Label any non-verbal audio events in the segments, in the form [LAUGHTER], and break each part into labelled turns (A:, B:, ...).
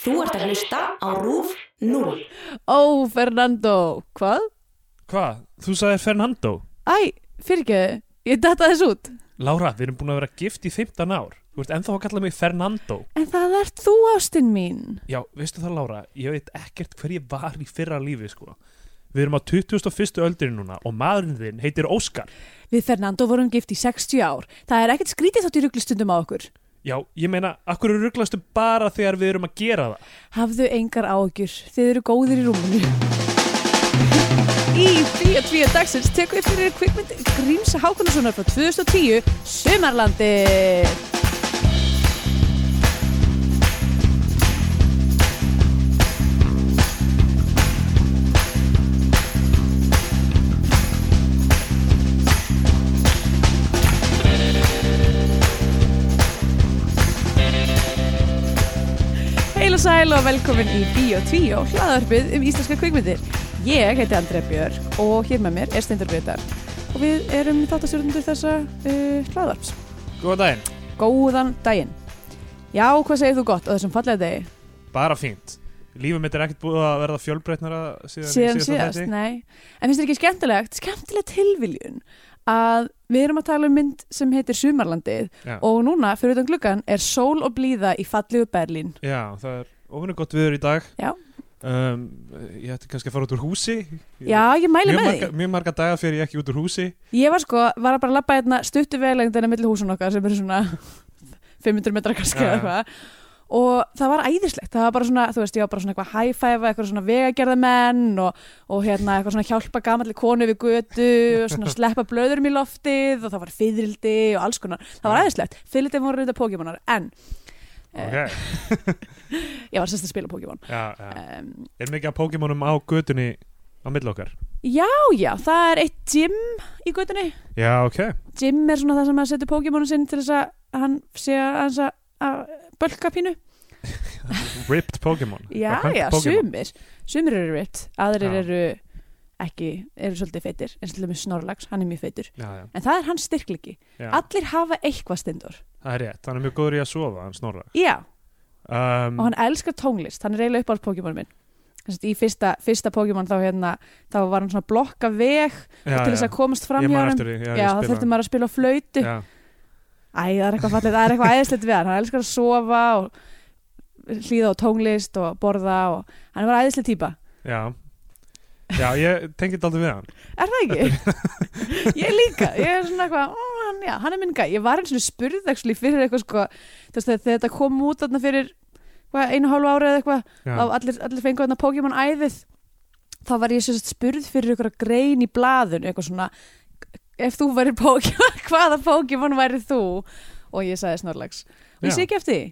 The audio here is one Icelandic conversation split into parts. A: Þú ert að hlusta á RÚF 0.
B: Ó, Fernando, hvað?
C: Hvað? Þú sagði Fernando
B: Æ, fyrirgeðu, ég datta þess út
C: Lára, við erum búin að vera gift í 15 ár Þú ert ennþá að kalla mig Fernando
B: En það ert þú, ástinn mín
C: Já, veistu það Lára, ég veit ekkert hver ég var í fyrra lífi sko Við erum á 21. öldurinn núna og maðurinn þinn heitir Óskar
B: Við Fernando vorum gift í 60 ár Það er ekkert skrítið þátt í ruglistundum á okkur
C: Já, ég meina, akkur eru rugglastu bara þegar við erum að gera það
B: Hafðu engar áhyggjur, þið eru góðir í rúmunu. Í Bíja Bíja dagsins tekur við fyrir kvikmynd Grímsa Hákonasonar frá 2010, Sumarlandi. Heil og sæl og velkomin í Bíja Bíja og hlaðarpið um íslenska kvikmyndir. Ég heiti Andrea Björk og hér með mér er Steindur Greitar og við erum þáttastjórnundur þessa uh, hlaðarps.
C: Góðan daginn,
B: Góðan daginn. Já, hvað segir þú gott á þessum fallega degi?
C: bara fínt Lífið mitt er ekkert búið að verða fjölbreytnara síðan,
B: síðan
C: síðasta
B: síðast,
C: þætti.
B: nei en finnst þér ekki skemmtilegt, skemmtileg tilviljun að við erum að tala um mynd sem heitir Sumarlandið
C: Já.
B: og núna fyrir utan gluggan er sól og blíða í fallegu Berlín
C: Já, það er ofinu gott viður í dag
B: Já.
C: um, Ég ætti kannski að fara út úr húsi Ég-
B: já, ég mæli
C: mjög
B: með
C: marga, mjög marga daga fyrir ég ekki út úr húsi
B: því ég var sko, var að bara labba hérna stuttu vegalengdina milli húsun okkar sem eru svona [LAUGHS] 500 metrar kannski
C: Já,
B: eða
C: já.
B: eitthvað og það var æðislegt, það var bara svona þú veist, ég var bara svona eitthvað að high-five eitthvað svona vegagerðamenn og, og hérna eitthvað svona hjálpa gamalli konu við götu og svona sleppa blöðurum í loftið og það var fyrildi og alls konar það var
C: Já.
B: æðislegt, fyrildi voru reynda Pokémonar en eh,
C: Ok,
B: ég var sérst að spila Pokémon
C: já, já
B: um,
C: Er mikið af Pokémonum á götunni á milli okkar?
B: já, já, það er eitt gym í götunni,
C: Já, ok
B: gym er svona það sem að setja Pokémonu sinn til þess að hann sé að, aðeins að, að bölka pínu
C: Ripped [LAUGHS] Pokémon
B: Já,
C: Bara
B: já,
C: pönk Pokémon.
B: sumir Sumir eru ripped, aðrir
C: Já.
B: eru ekki, eru svolítið feitir eins og til dæmis Snorlax, hann er mjög feitur
C: Já, já,
B: en það er hans styrkliki,
C: já
B: allir hafa eitthvað stendur,
C: Það er rétt, hann er mjög góður í að sofa, hann snorra
B: já,
C: um,
B: og hann elskar tónlist hann er eiginlega upp á Pokémon minn Þess að í fyrsta, fyrsta Pokémon þá hérna þá var hann svona að blokka veg
C: já,
B: til þess að komast fram
C: Ég
B: hjá
C: man
B: hann
C: eftir því, já,
B: já, þá þurfti maður að spila á flöytu
C: Já,
B: Æ, það er eitthvað fallið, það er eitthvað æðislegt við hann hann elskar að sofa og hlýða á tónlist og borða og hann var æðislega típa
C: já Já, ég tengi þetta aldrei við hann
B: Er það ekki?
C: [LAUGHS]
B: ég líka, ég er svona eitthvað, "Mm, hann, já, hann er minn gæ. Ég var eins og spurð actually, fyrir eitthvað sko, þú veist þegar þegar þetta kom út þarna fyrir hvað, einu og hálfu ári eða eitthvað,
C: Já,
B: þá allir, allir fengu þarna Pokémon æðið, þá var ég sérst spurð fyrir eitthvað grein í blaðun, eitthvað svona, ef þú væri Pokémon, [LAUGHS] hvaða Pokémon væri þú? Og ég sagði snorlags. Og ég
C: Já.
B: sé ekki eftir því.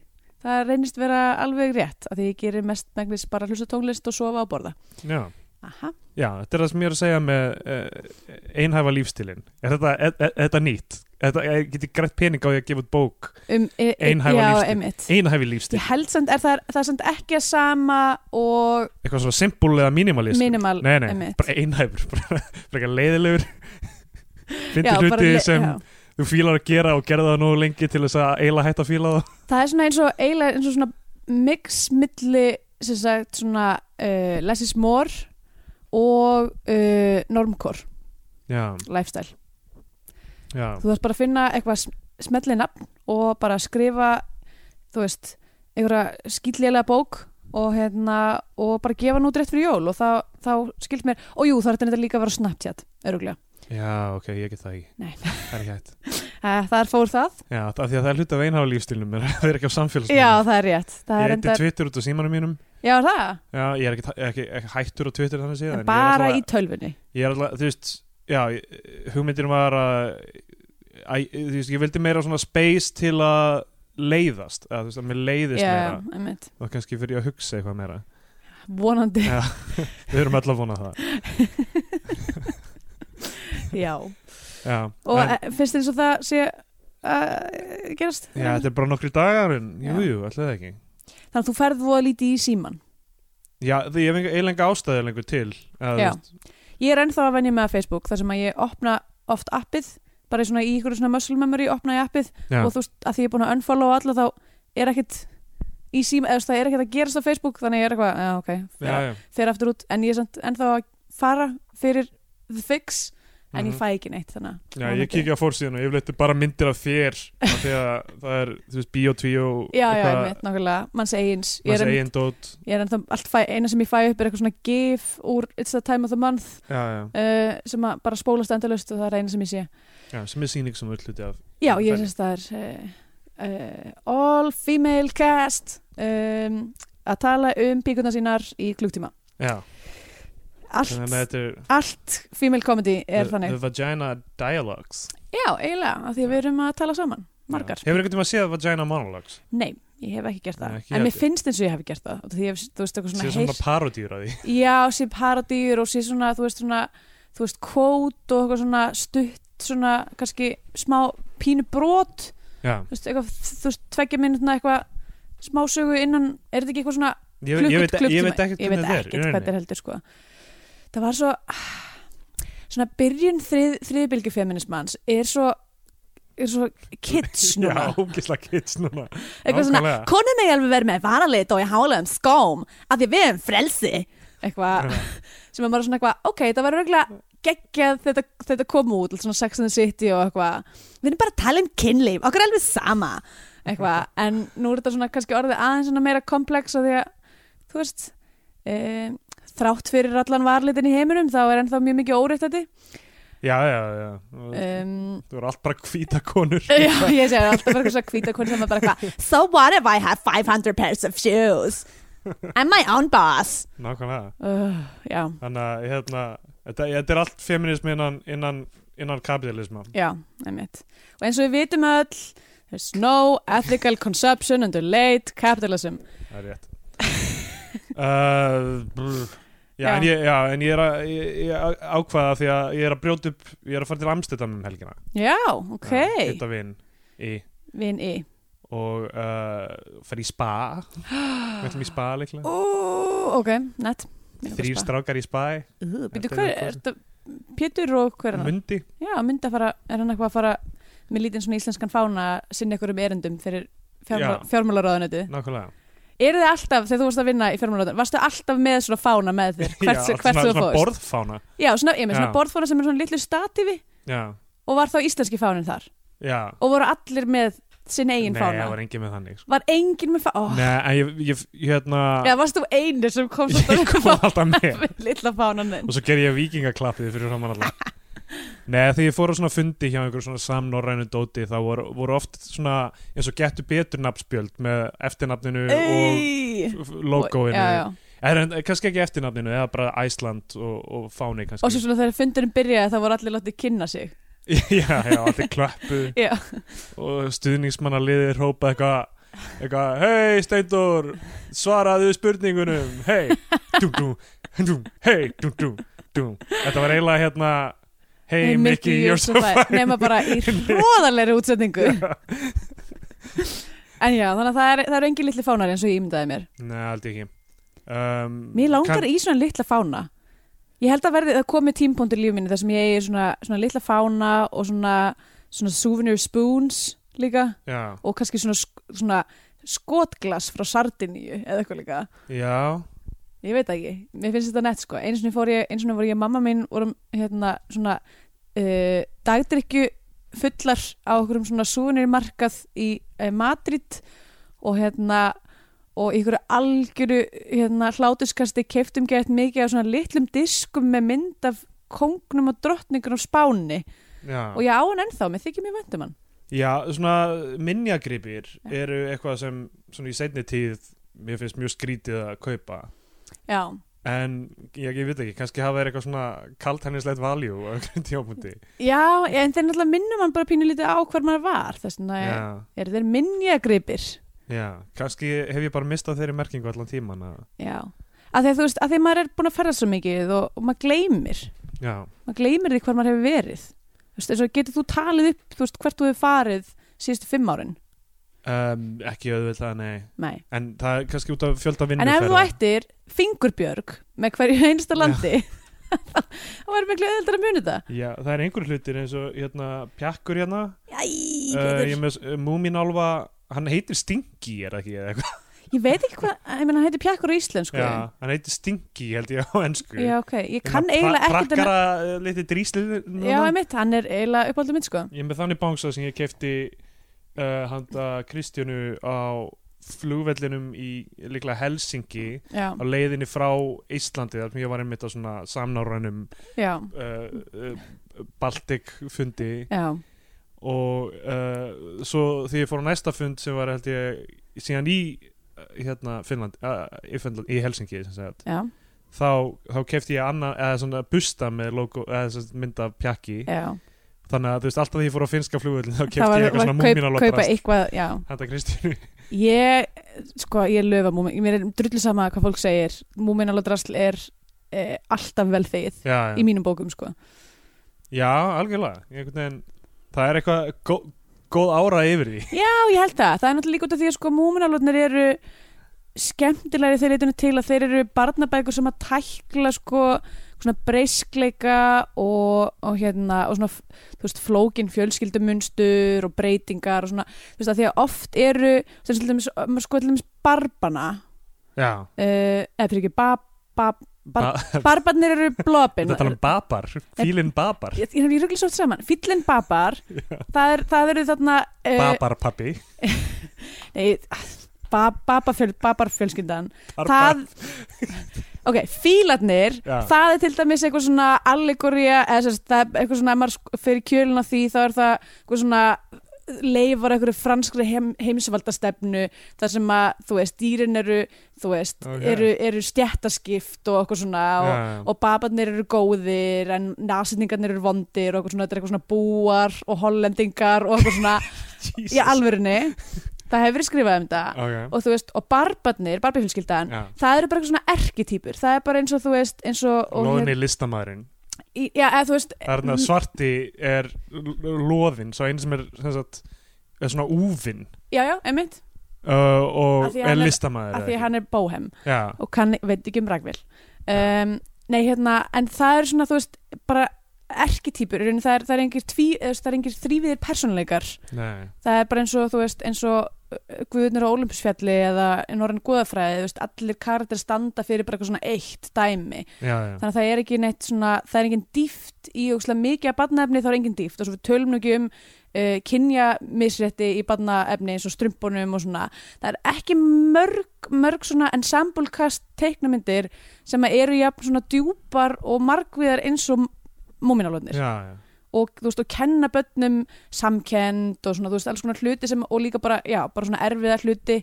B: Það reynist vera alveg rétt, af því ég gerir mest megnis bara hlusta á tónlist og sofa á borða.
C: já
B: Aha.
C: Já, þetta er það sem ég er að segja með uh, einhæfa lífstilinn Er þetta, er, er, er þetta nýtt? Er Þetta, ég geti grætt pening á því að gefa út bók
B: Um, e, e,
C: Einhæfa
B: já,
C: lífstíl.
B: einmitt.
C: Einhæfi
B: Ég
C: lífstil,
B: held samt, er það, það er samt ekki að sama og
C: eitthvað svona simpul eða minimalist
B: minimal
C: Nei, nei,
B: einmitt.
C: bara einhæfur [LAUGHS] bara- Frekar leiðilegur
B: Já,
C: Fyndi
B: bara
C: hluti
B: le-
C: sem
B: já.
C: þú fílar að gera og gerða það nú lengi til þess að eila hætt að fíla það
B: Það er svona eins og eiginlega eins og svona mix milli sem sagt svona uh, less is more og uh, normcore
C: Já,
B: lifestyle.
C: já,
B: Þú þarf bara að finna eitthvað smetlið nafn og bara skrifa þú veist, einhverja skýtlélega bók og hérna og bara gefa nút rétt fyrir jól og þá, þá skilt mér, og jú það er þetta líka að vera á Snapchat, öruglega.
C: já, ok, ég get það ekki
B: Nei.
C: Það er ekki hægt
B: Það er Eh, fór það.
C: Já, af því að það er hluti af einhæfa [LAUGHS] lífstilnum er að vera ekki á samfélagsmiðlum
B: Já, það er rétt. Það
C: Ég
B: er
C: heiti
B: enda...
C: Twitter út á símanum mínum
B: Já, er það?
C: Já, ég er ekki, ekki, ekki hættur á Twitter þannig séð
B: En
C: en
B: bara
C: ég er
B: í tölvunni
C: alltaf, ég er alltaf, þú veist, já, ég- hugmyndin var að æ, Þú veist, ég vildi meira svona space til að leiðast að, Þú veist, að mér leiðist
B: Já,
C: meira
B: einmitt.
C: og kannski fyrir ég að hugsa eitthvað meira [LAUGHS]
B: vonandi,
C: Já, við erum alltaf vonað það
B: já
C: Já,
B: Og
C: en,
B: en, finnst þér eins og það sé að gerast?
C: já þetta er bara nokkri dagar en
B: e-
C: jú,
B: Já.
C: jú, alltaf það ekki
B: Þannig að þú ferð voða lítið í síman
C: Já, því ég hef eiginlega ástæði lengur til
B: Já.
C: að, þú veist,
B: Ég er ennþá að venja með að Facebook þar sem að ég opna oft appið bara í svona í ykkur svona muscle memory opna ég appið
C: já,
B: og þú veist að því ég er búin að unfollow alla þá er ekkit í síma, eða þú veist, það er ekkert að gerast á Facebook þannig ég er eitthvað, já ok,
C: já,
B: fer-
C: já.
B: fer aftur út en ég er samt ennþá að fara fyrir the fix, en ég
C: Mhm.
B: fæ ekki neitt þannig að-
C: Já, ég kíkja á fórsíðan og yfirleitt er bara myndir af þér af því að það er, þú veist, biotví og
B: Já, já, einmitt, nákvæmlega, manns eigins Ég
C: manns
B: er, en,
C: eigin dót
B: ég er ennþá, allt fæ, eina sem ég fæ upp er eitthvað svona gif úr It's the time of the month
C: já, já,
B: uh, sem að bara spólast endalaust og það er eina sem ég sé
C: já, sem er sýning sem er hluti af
B: Já, ég
C: Þannig.
B: syns það er uh, uh, All female cast um, að tala um píkurna sínar í klugtíma
C: já, þannig að
B: Allt,
C: þetta er
B: allt female comedy er
C: the,
B: þannig
C: the Vagina Dialogues
B: Já, eiginlega, af því að við erum að tala saman margar.
C: Já. Hefur ekkert um að séð Vagina Monologues?
B: Nei, ég hef ekki gert það
C: Nei, ekki
B: en mér
C: heldur.
B: finnst eins og ég hef gert það af því ég hef, þú veist, eitthvað
C: Sér
B: svona,
C: svona
B: heyrt-
C: parodýr að því
B: Já, sé paradýr og sé svona, þú veist, svona, þú veist, kvót og eitthvað svona stutt, svona, kannski smá pínu brot,
C: Já,
B: þú veist, eitthvað, þú veist, tveggja minutna eitthvað smásögu innan, er þetta ekki eitthvað svona
C: ég, ég,
B: klukkut,
C: veit, ég veit ekkert
B: ég
C: hvernig
B: veit
C: þetta er
B: ekkert hvað
C: í
B: þetta
C: rauninni.
B: er heldur, sko. Það var svo, svona, byrjun þrið, þriðbylgi feminismans er svo, er svo kitsch núna.
C: [LAUGHS] Já, ógislega kids núna
B: eitthvað svona,
C: nákvæmlega.
B: konur megi alveg verið með varalit og í hálaðum skóm af því að við erum frelsi eitthvað, [LAUGHS] sem er bara svona eitthvað ok, það var örgulega geggjað þetta, þetta kom út, svona Sex and the City og eitthvað, við erum bara að tala um kynlíf okkur er alveg sama eitthvað, en nú er þetta svona kannski orðið aðeins svona meira komplex og því að þú veist e, þrátt fyrir allan varlitin í heiminum þá er ennþá mjög mikið óreitt þetta
C: Já, já, já
B: um,
C: Þú eru allt bara hvíta konur
B: Já, ég segi alltaf bara eitthvað hvíta konu sem er bara eitthvað So what if I have 500 pairs of shoes? I'm my own boss
C: Nákvæmlega
B: uh, Já,
C: Þannig að hérna, þetta, þetta er allt feminismi innan, innan, innan kapitalisma
B: já, einmitt Og eins og við vitum öll There's no ethical consumption under late capitalism
C: Það er
B: [LAUGHS]
C: rétt uh, brr. já,
B: Já.
C: En ég, já, en ég er að ég, ég ákvaða því að ég er að brjóta upp ég er að fara til Amstedam um helgina
B: Já, ok,
C: að hitta vin í
B: vin E. í
C: og uh, fara í spa
B: [GASPS]
C: við ætlum í spa líklega
B: Ó, ok, nett
C: þrýr strákar í spa
B: Býtu,
C: Þetta er
B: hver,
C: eitthvað-
B: er þetta Pétur og hver er hann?
C: mundi
B: Já, myndi að fara, er hann eitthvað að fara með lítinn svona íslenskan fána sinni einhverjum erindum fyrir
C: Já.
B: fjármálaráðanötu
C: nákvæmlega
B: Eru þið alltaf, þegar þú varst að vinna í fjármálaráðan, varstu alltaf með svona fána með þér? Hvert,
C: Já,
B: hvert
C: svona,
B: þú
C: svona
B: fórst?
C: borðfána
B: Já, svona, ég með svona
C: Já.
B: borðfána sem er svona litlu statífi
C: já,
B: og var þá íslenski fánin þar
C: já
B: og voru allir með sinn eigin
C: nei,
B: fána.
C: það
B: Var,
C: var engin með þannig sko.
B: engin með fána?
C: nei, en ég, ég, ég hérna
B: Já, varst þú einu sem kom
C: [LAUGHS] ég
B: svona
C: kom alltaf með
B: [LAUGHS] með litla fánan þinn?
C: og svo ger ég vikingaklappið fyrir
B: [LAUGHS]
C: framann alla Nei, þegar ég fór á svona fundi hjá einhver svona samnorrænu dóti þá voru, voru oft svona eins og getur betur nafnspjöld með eftirnafninu
B: Ey!
C: og f- f- logoinu
B: Já, já.
C: Er, en, kannski ekki eftirnafninu, eða bara Æsland og, og fáni kannski
B: Og svo svona þegar fundurinn byrjaði þá voru allir látið kynna sig.
C: [LAUGHS] Já, já, allir klöppu
B: Já,
C: og stuðningsmanna liðir hópa eitthvað eitthvað, hei Steindor svaraðu spurningunum hei, dum dum, dum hei, dum dum, dum þetta var eiginlega hérna hei Mickey, you're so fine
B: Nefna bara
C: [LAUGHS]
B: í hróðarleiri útsendingu. En já, þannig að það eru er engin litli fánar eins og ég ímyndaði mér.
C: Nei, aldrei ekki um,
B: Mér langar í svona litla fána Ég held að verði, það komi tímpóndur líf minni þar sem ég eigi svona, svona litla fána og svona, svona souvenir spoons líka
C: já,
B: og kannski svona, sk- svona skotglas frá Sardiníu eða eitthvað líka
C: já,
B: Ég veit það ekki, mér finnst þetta nett sko einu sinni fór ég, einu sinni voru ég og mamma mín vorum hérna svona uh, dagdrykju fullar á okkur um svona souvenir markað í uh, Madrid og hérna og í ykkur algjöru hérna, hlátuskasti keftum gett mikið af svona litlum diskum með mynd af kongnum og drottningur á Spáni
C: já
B: og ég á hann ennþá, mér þykir mjög vöndum hann
C: já, svona minjagripir eru eitthvað sem svona í seinni tíð mér finnst mjög skrítið að kaupa
B: Já,
C: en ég, ég veit ekki, kannski hafa þeir eitthvað svona kaltænislegt valjú á einhverjum tjópundi
B: já en þeir náttúrulega minnum hann bara pínu lítið á hver maður var þess vegna er,
C: já
B: er þeir minnjagripir
C: Já, kannski hef ég bara mistað þeirri merkingu allan tíman að,
B: Já, að því að þú veist, að því að maður er búin að ferða svo mikið og, og maður gleymir
C: já,
B: maður gleymir því hvar maður hefur verið þú veist, eins og getur þú talið upp, þú veist, hvert þú hefur farið síðustu fimm árin,
C: um, ekki auðvitað, nei
B: nei
C: en það er kannski út af fjölda
B: en ef þú
C: vinnuferða
B: ættir fingurbjörg með hverju einsta landi [LAUGHS] þá verður miklu öðvildar að muni það
C: Já, það er einhver hlutir eins og hérna pjakkur hérna uh,
B: Æ,
C: eh, ég er með uh, Múminálfa, hann heitir Stinky er það ekki eða eitthvað,
B: ég veit ekki hvað, ég meina hann heitir pjakkur á íslensku
C: Já, hann heitir Stinky held ég á ennsku
B: já ok, ég kann eiginlega ekkert um-
C: Prakkara uh, litið dríslið
B: já, einmitt, hann er eiginlega uppáldum mitt sko
C: Ég er með þannig bangsa sem ég kefti uh, handa Kristjánu á flugvellinum í líklega Helsingi
B: já,
C: á leiðinni frá Íslandi þar sem ég var einmitt á svona samnárænum
B: já,
C: uh, uh, Baltic fundi
B: já,
C: og uh, svo þegar ég fór á næsta fund sem var held ég síðan í uh, hérna Finnland, uh, í, Finnland í Helsingi sem sagt
B: já,
C: þá, þá kefti ég annað, eða svona busta með logo, eða sem sagt mynd af pjakki
B: já
C: þannig að þú veist alltaf því ég fór á finnska flugvöldin þá kefti
B: það
C: ég
B: var,
C: eitthvað
B: var
C: svona
B: kaup, kaupa
C: múminaloprast
B: eitthvað, já
C: handa
B: [LAUGHS]
C: Kristínu
B: ég, sko, ég löfa múmin mér er drullu sama hvað fólk segir múminalodrasl er eh, alltaf vel þegið
C: já, já.
B: í mínum bókum, sko
C: já, algjörlega Einhvern veginn, það er eitthvað gó, góð ára yfir því
B: Já, ég held það. Það er náttúrulega líka út af því að sko múminalotnir eru skemmtilegri þeir leitinu til að þeir eru barnabækur sem að tækla sko svona breyskleika og, og hérna og svona þú veist flókin fjölskyldumunstur og breytingar og svona þú veist að því að oft eru sem til dæmis sko til dæmis barbana
C: já,
B: uh, eða fyrir ekki bab, bab,
C: ba
B: bar, barbarnir eru blópin
C: þetta tala um babar, fílinn babar
B: ég, ég, ég ruggli svo oft saman, fyllin
C: [LAUGHS]
B: babar það, er, það eru þarna uh,
C: babarpappi
B: Nei, ba babafjöl, babarfjölskyndan
C: Barbar-
B: það, ok, fílarnir
C: Já.
B: það er til dæmis eitthvað svona allegoria, eða sem sagt, það er eitthvað svona ef maður sk- fer í kjölun á því, þá er það eitthvað svona leifar eitthvað franskri heim, heimsvaldastefnu þar sem að, þú veist, dýrin eru þú veist,
C: Ok.
B: eru, eru stjættaskipt og eitthvað svona og,
C: Já, já.
B: og babarnir eru góðir en nasinningarnir eru vondir og eitthvað svona, þetta er eitthvað svona búar og hollendingar og eitthvað svona
C: Jesus.
B: í alvörunni það hefur verið skrifað um þetta
C: ok,
B: og þú veist, og barbarnir, barbifjölskyldan
C: já
B: það eru bara eitthvað svona erkitýpur það er bara eins og þú veist eins og, og hérna- Mm.
C: Lóðinni listamæðurinn
B: í- já, eða þú veist
C: Þarna svarti er loðin Svo einu sem er, sem sagt, er svona úfin
B: já, já, einmitt,
C: uh,
B: Af
C: Og
B: því að
C: er
B: hann er-
C: listamæður
B: af því að hann er bóhem
C: Já,
B: og kann, veit ekki um ragvel um, nei, hérna, en það eru svona þú veist, bara erkitýpur í rauninni það er, það er engir, tví, eða þú veist, það er engir þrýviðir persónuleikar
C: nei
B: það er bara eins og þú veist eins og uh, Guðnir á Olympusfjalli eða Norrinn Guðafræði, þú veist, allir karakter standa fyrir bara eitthvað svona eitt dæmi
C: Já, já
B: þannig að það er ekki neitt svona það er engin dýft í ógslag mikið að badnaefni þá er engin dýft og svo við tölum nú ekki um uh, kynja misrétti í badnaefni eins og strumpunum og svona það er ekki mörg, mörg svona ensemblekast teiknamyndir sem að eru jafn svona djúpar og margviðar eins og múminalotnir
C: Já, já
B: og þú veist og kenna börnum samkend og svona þú veist alls konar hluti sem og líka bara, já, bara svona erfiða hluti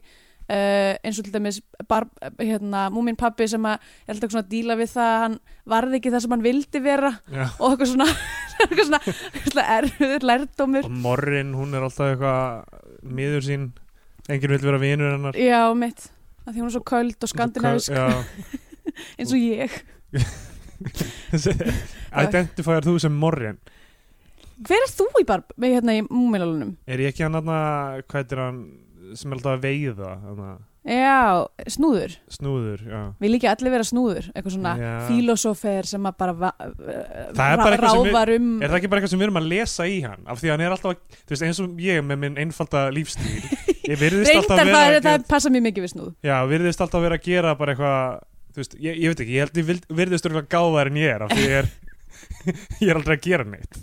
B: uh, eins og til dæmis bar, hérna, múmin pappi sem að ég held að svona díla við það að hann varði ekki það sem hann vildi vera
C: Já.
B: og eitthvað svona, [LAUGHS] eitthvað svona, eitthvað svona erfiður lærdómur
C: Og Morrin, hún er alltaf eitthvað miður sín Enginn vil vera vinur hennar
B: já, mitt, að því hún er svo köld og skandinavisk
C: Já.
B: eins og ég [LAUGHS]
C: Identifæjar þú sem Morrin
B: hver er þú í barb, með hérna í múminalunum?
C: Er ég ekki hann aðna, hvað heitir hann sem er alltaf að veiða hana,
B: já, snúður
C: Snúður, já
B: Vil ekki allir vera snúður, eitthvað svona
C: Já.
B: fílósófer sem að bara va-
C: Það er bara eitthvað sem við-
B: ráfar um
C: Er það ekki bara eitthvað sem við erum að lesa í hann af því að hann er alltaf, að- þú veist, eins og ég með minn einfalda lífstíl ég virðist alltaf
B: reyndar
C: að
B: það,
C: vera
B: er,
C: að
B: það
C: gera,
B: passa mjög mikið við snúð
C: já, virðist alltaf að vera að gera bara eitthvað, þú veist, ég, ég veit ekki ég held ég vild- virðist örugglega gáðar en ég er af því ég er, [LAUGHS] ég er aldrei að gera neitt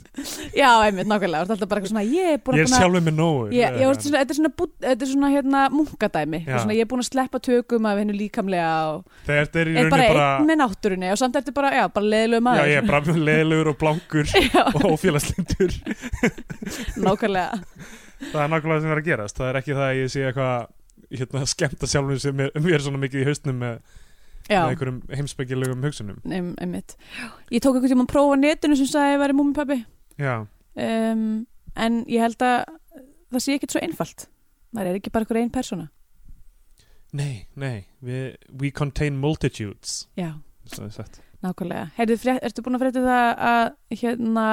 B: Já, einmitt, nákvæmlega, það er alltaf bara eitthvað svona ég er búin að
C: ég er
B: búin að
C: sjálfur með nógu
B: Ég, ég, veist, svona, þetta er svona, bú, þetta er svona hérna, munkadæmi
C: Já.
B: svona, ég er búin að sleppa tökum af hennu líkamlega og
C: þegar þetta er í
B: er bara
C: rauninni
B: einn
C: bara,
B: með náttúrunni og samt er þetta bara, já, bara leðilegu
C: já,
B: maður
C: ég er bara leðilegur og
B: [LAUGHS]
C: blankur og ófélagslindur
B: nákvæmlega,
C: það er nákvæmlega sem er að gerast það er ekki það að ég sé eitthvað hérna, skemmta sjálfum sem mér, [LAUGHS] mér svona mikið í haustnum með,
B: já,
C: með einhverjum heimspekilegum hugsunum
B: ein, einmitt ég tók einhvern tímann prófa á netinu sem sagði að ég væri múmipabbi
C: já,
B: um, en ég held að það sé ekkert svo einfalt það er ekki bara einhver ein persóna
C: Nei, nei, við, we contain multitudes
B: já,
C: svo er sagt.
B: Nákvæmlega. Heyrðu, frétt, ertu búin að frétta um það að hérna,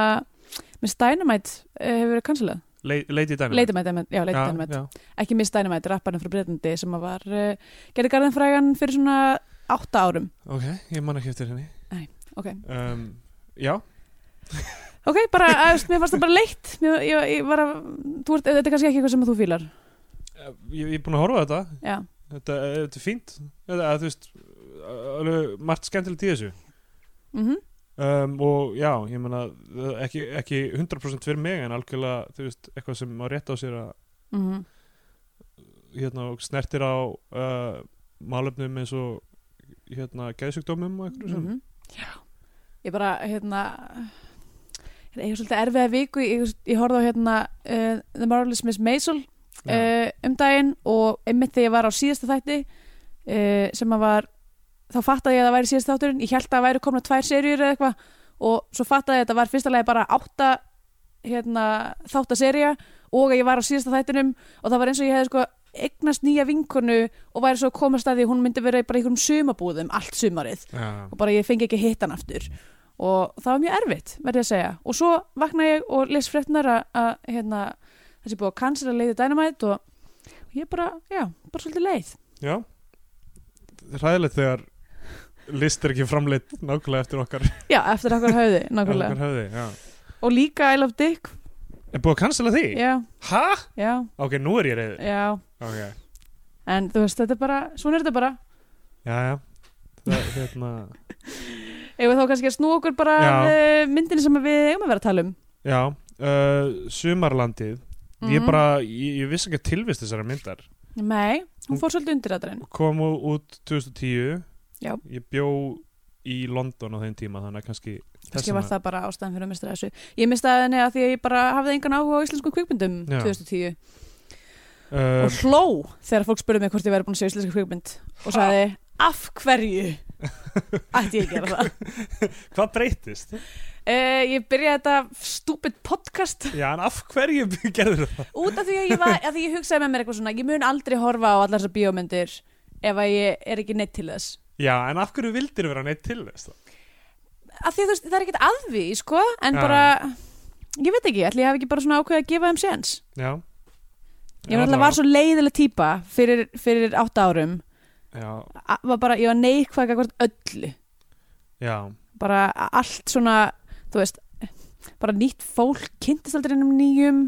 B: Miss Dynamite eh, hefur verið cancelað?
C: Le Lady Dynamite
B: Lady Dynamite, já, Lady Dynamite.
C: já,
B: Ekki Miss Dynamite, rapparinn frá Breitlandi sem að var, uh, gerði garðan frægan fyrir svona átta árum.
C: Ok, ég man ekki eftir henni
B: Ok,
C: um, Já,
B: ok, bara, að, veist, mér fannst það bara leitt. Mér, ég, ég var að, þú ert, þetta er kannski ekki eitthvað sem þú fílar.
C: ég, ég er búin að horfa á þetta
B: Já,
C: þetta, þetta er fínt þetta, þú veist, alveg margt skemmtilegt í þessu
B: mm -hmm.
C: um, og já, ég meina það- ekki, ekki 100% fyrir mig en algjörlega, þú veist, eitthvað sem má rétt á sér að
B: Mhm.
C: hérna, og snertir á uh, málefnum eins og hérna, geðsjúkdómum og eitthvað
B: Mhm.
C: sem
B: Já, ég bara hérna hérna, ég er svolítið erfiða viku ég, ég horfði á hérna uh, The Marvelous Miss Maisel
C: já,
B: uh, um daginn og einmitt þegar ég var á síðasta þætti uh, sem að var þá fattaði ég að það væri síðasta þátturinn ég held að það væri komna tvær seríur eða eitthvað og svo fattaði ég að þetta var fyrsta lagi bara átta hérna, þáttaserja og að ég var á síðasta þættinum og það var eins og ég hefði sko eignast nýja vinkonu og væri svo að komast að því að hún myndi vera í bara einhverjum sumabúðum allt sumarið
C: já,
B: og bara ég fengi ekki hitt hann aftur og það var mjög erfitt, verði ég að segja og svo vakna ég og les fréttnar að, að hérna, þessi búið að cancela leiði Dynamite og, og ég bara, já, bara svolítið leið
C: já. ræðilegt þegar list er ekki framleitt nákvæmlega eftir okkar,
B: já, eftir okkar höfði,
C: [LAUGHS] okkar
B: nákvæmlega
C: höfði já.
B: og líka I Love Dick,
C: er búið að cancela því?
B: já,
C: ha?
B: já,
C: ok, nú er ég reyður
B: já
C: okay.
B: en þú veist, þetta er bara, svona er þetta bara
C: já, já Það, hérna,
B: eigum við þá kannski að snú okkur bara
C: Já.
B: að eh, myndinni sem við eigum að vera að tala um
C: já uh, sumarlandið ég
B: Mhm.
C: bara, ég, ég vissi ekki að tilvist þessara myndar
B: nei, hún fór svolítið undir þetta
C: kom ú- út 2010
B: Já.
C: ég bjó í London á þeim tíma þannig að kannski
B: kannski var það bara ástæðan fyrir að mista þessu ég mistaði henni að því að ég bara hafði engan áhuga á íslenskum kvikmyndum
C: Já.
B: 2010
C: uh,
B: og hló þegar fólk spurði mig hvort ég væri búin að sjá íslenska kvikmynd og sagði af hverju ætti ég að gera [LAUGHS] það
C: Hvað breytist?
B: uh, ég byrjaði þetta stúpid podcast
C: Já, en af hverju [LAUGHS] gerður það?
B: út af því að ég, var, að því ég hugsaði með mér eitthvað svona ég mun aldrei horfa á allar þessar bíómyndir ef að ég er ekki neitt til þess
C: Já, en af hverju vildir vera neitt til þess? þá?
B: af því að þú veist, það er ekkert aðví sko, en
C: Já.
B: bara ég veit ekki, ætli ég hef ekki bara svona ákveðið að gefa þeim séns
C: Já
B: ég var alltaf var svo leiðileg típa fyrir, fyrir átta árum
C: Já,
B: A- var bara, ég var neikvæg akkvart öllu
C: já,
B: bara allt svona þú veist, bara nýtt fólk kynntist aldrei innum nýjum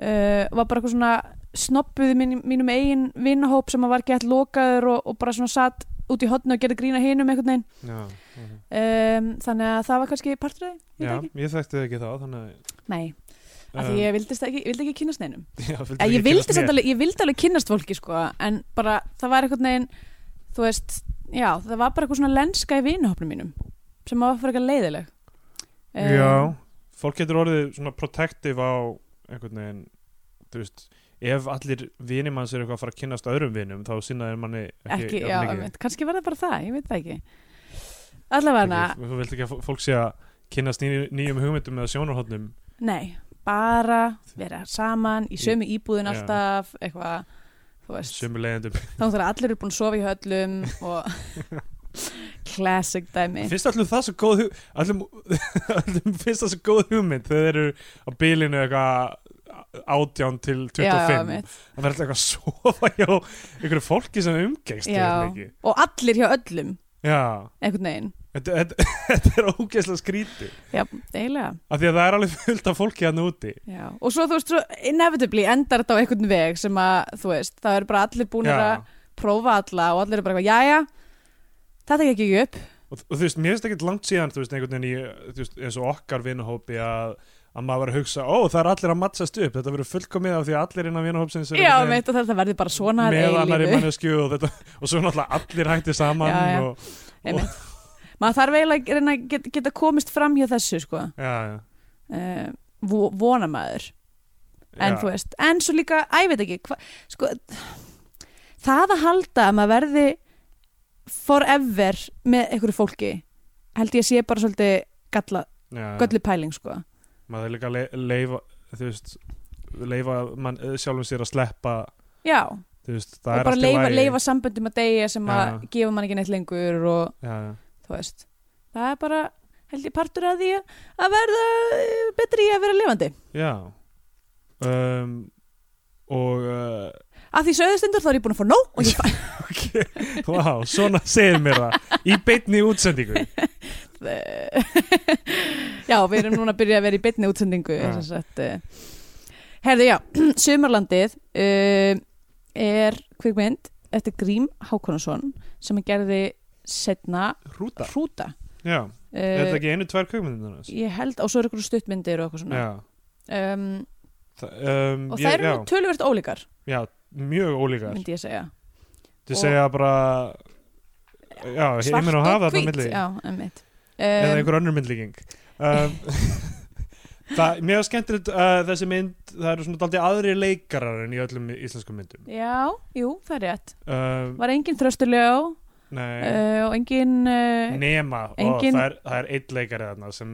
B: uh, var bara eitthvað svona snobbuð í mín, mínum eigin vinnahóp sem að var gett lokaður og, og bara svona satt út í hotna og gerði grína hinum einhvern veginn
C: já
B: um, þannig að það var kannski partur af því,
C: Já,
B: ég veit
C: ég þekkti það ekki þá, þannig að...
B: ekki nei, af því ég vildist ekki, vildi ekki kynast neinum
C: [LAUGHS] Já, vildi
B: Eh, ég,
C: ekki kynnast
B: vildi samt
C: mér.
B: alveg, ég vildi alveg kynnast fólki sko, en bara það var eitthvað neginn þú veist, já, það var bara eitthvað svona lenska í vinahopnum mínum sem var fyrir eitthvað leiðileg Eh,
C: Já, fólk getur orðið svona protective á einhvern veginn, þú veist, ef allir vinir manns eru eitthvað að fara að kynnast öðrum vinum, þá sinna þeir manni ekki...
B: ekki,
C: jafn
B: já,
C: mikið.
B: einmitt, kannski var það bara það, ég veit það ekki allavega,
C: Ekki, Þú vilt ekki að fó- fólk sé að kynnast ný, nýjum hugmyndum eða sjónarhóttnum
B: nei bara vera saman í sömu íbúðin
C: Já.
B: alltaf, eitthvað þú veist,
C: sömu leiðendum.
B: þá þarf allir eru búin að sofa í höllum og
C: [LAUGHS]
B: classic dæmi
C: Finnst allir það svo góð hugmynd [LAUGHS] allir, allir finnst það svo góð hugmynd þegar þeir eru á bílinu eitthvað átján til
B: já,
C: 25
B: einmitt.
C: það verður eitthvað að sofa hjá einhverju fólki sem umgengst þig,
B: Já.
C: ekki?
B: og allir hjá öllum,
C: Já.
B: einhvern veginn
C: Þetta, [LAUGHS] þetta, þetta er ógeðslega skríti
B: já, eiginlega
C: af því að það er alveg fullt af fólki hann úti
B: Já, og svo þú veist, svo inevitably endar þetta á einhvern veg sem að, þú veist, það eru bara allir búinir
C: Já.
B: að prófa alla og allir eru bara eitthvað, jæja, þetta gekk ekki upp.
C: og, og þú veist, mér finnst ekkert langt síðan þú veist, einhvern veginn í, þú veist, eins og okkar vinahópi að, að maður var að hugsa, ó, það er allir að mattsast upp, þetta verður fullkomið af því að allir innan vinahópsins eru
B: Já,
C: einhvern
B: meitt og þetta verði bara svona að
C: með annari
B: eilífu.
C: mannesku og, þetta, og svo náttúrulega allir hætti saman
B: Já, já.
C: Og,
B: Einmitt. Maður þarf eiginlega að reyna að get, geta komist fram hjá þessu, sko,
C: já, já,
B: uh, vona maður, en
C: já.
B: þú veist, en svo líka, æ, ég veit ekki, hva, sko, það að halda að maður verði forever með einhverju fólki, held ég sé bara svolítið galla,
C: já,
B: göllu pæling, sko.
C: maður er líka að le- leifa þú veist, leifa mann, eh, sjálfum sér að sleppa
B: Já,
C: þú veist, það
B: og
C: er
B: bara
C: allt í
B: leifa,
C: lagi.
B: leifa samböndum að deyja sem að
C: Já.
B: gefa mann ekki neitt lengur og
C: já, já.
B: þú veist það er bara held ég partur að því að verða eh, betri í að vera lifandi
C: já. Um, og uh,
B: að því sögðustundur þá er ég búin að fá nóg og ég fæ
C: [LAUGHS] ok, wow, svona segir mér það í beinni útsendingu
B: [LAUGHS] já, við erum núna að byrja að vera í beinni útsendingu
C: Já.
B: sem sagt, eh. [CLEARS THROAT] herðu já, Sumarlandið uh, eh, er kvikmynd eftir Grím Hákonason sem hann gerði setna
C: Rúta
B: Hrúta
C: Já, er þetta
B: uh,
C: ekki einu, tvær kveikmyndir hans?
B: ég held á svo eru ykkur stuttmyndir og eitthvað svona
C: Já,
B: um,
C: Þa, um,
B: og það
C: ég,
B: eru
C: já,
B: töluvert ólíkar
C: já, mjög ólíkar
B: myndi ég segja
C: Þið
B: og-
C: segja bara Já, heiminn og hafa þetta milli
B: já, einmitt
C: eða
B: um,
C: einhver önnur myndlíking
B: [LAUGHS]
C: um, [LAUGHS] það, Mjög skemmtilegt uh, þessi mynd, það eru svona daldið aðri leikarar en í öllum íslenskum myndum
B: já, jú, það er rétt
C: um,
B: var engin þröstuljó uh,
C: Nei,
B: og engin uh,
C: nema ó,
B: engin-
C: það, er, það er einn leikari þarna sem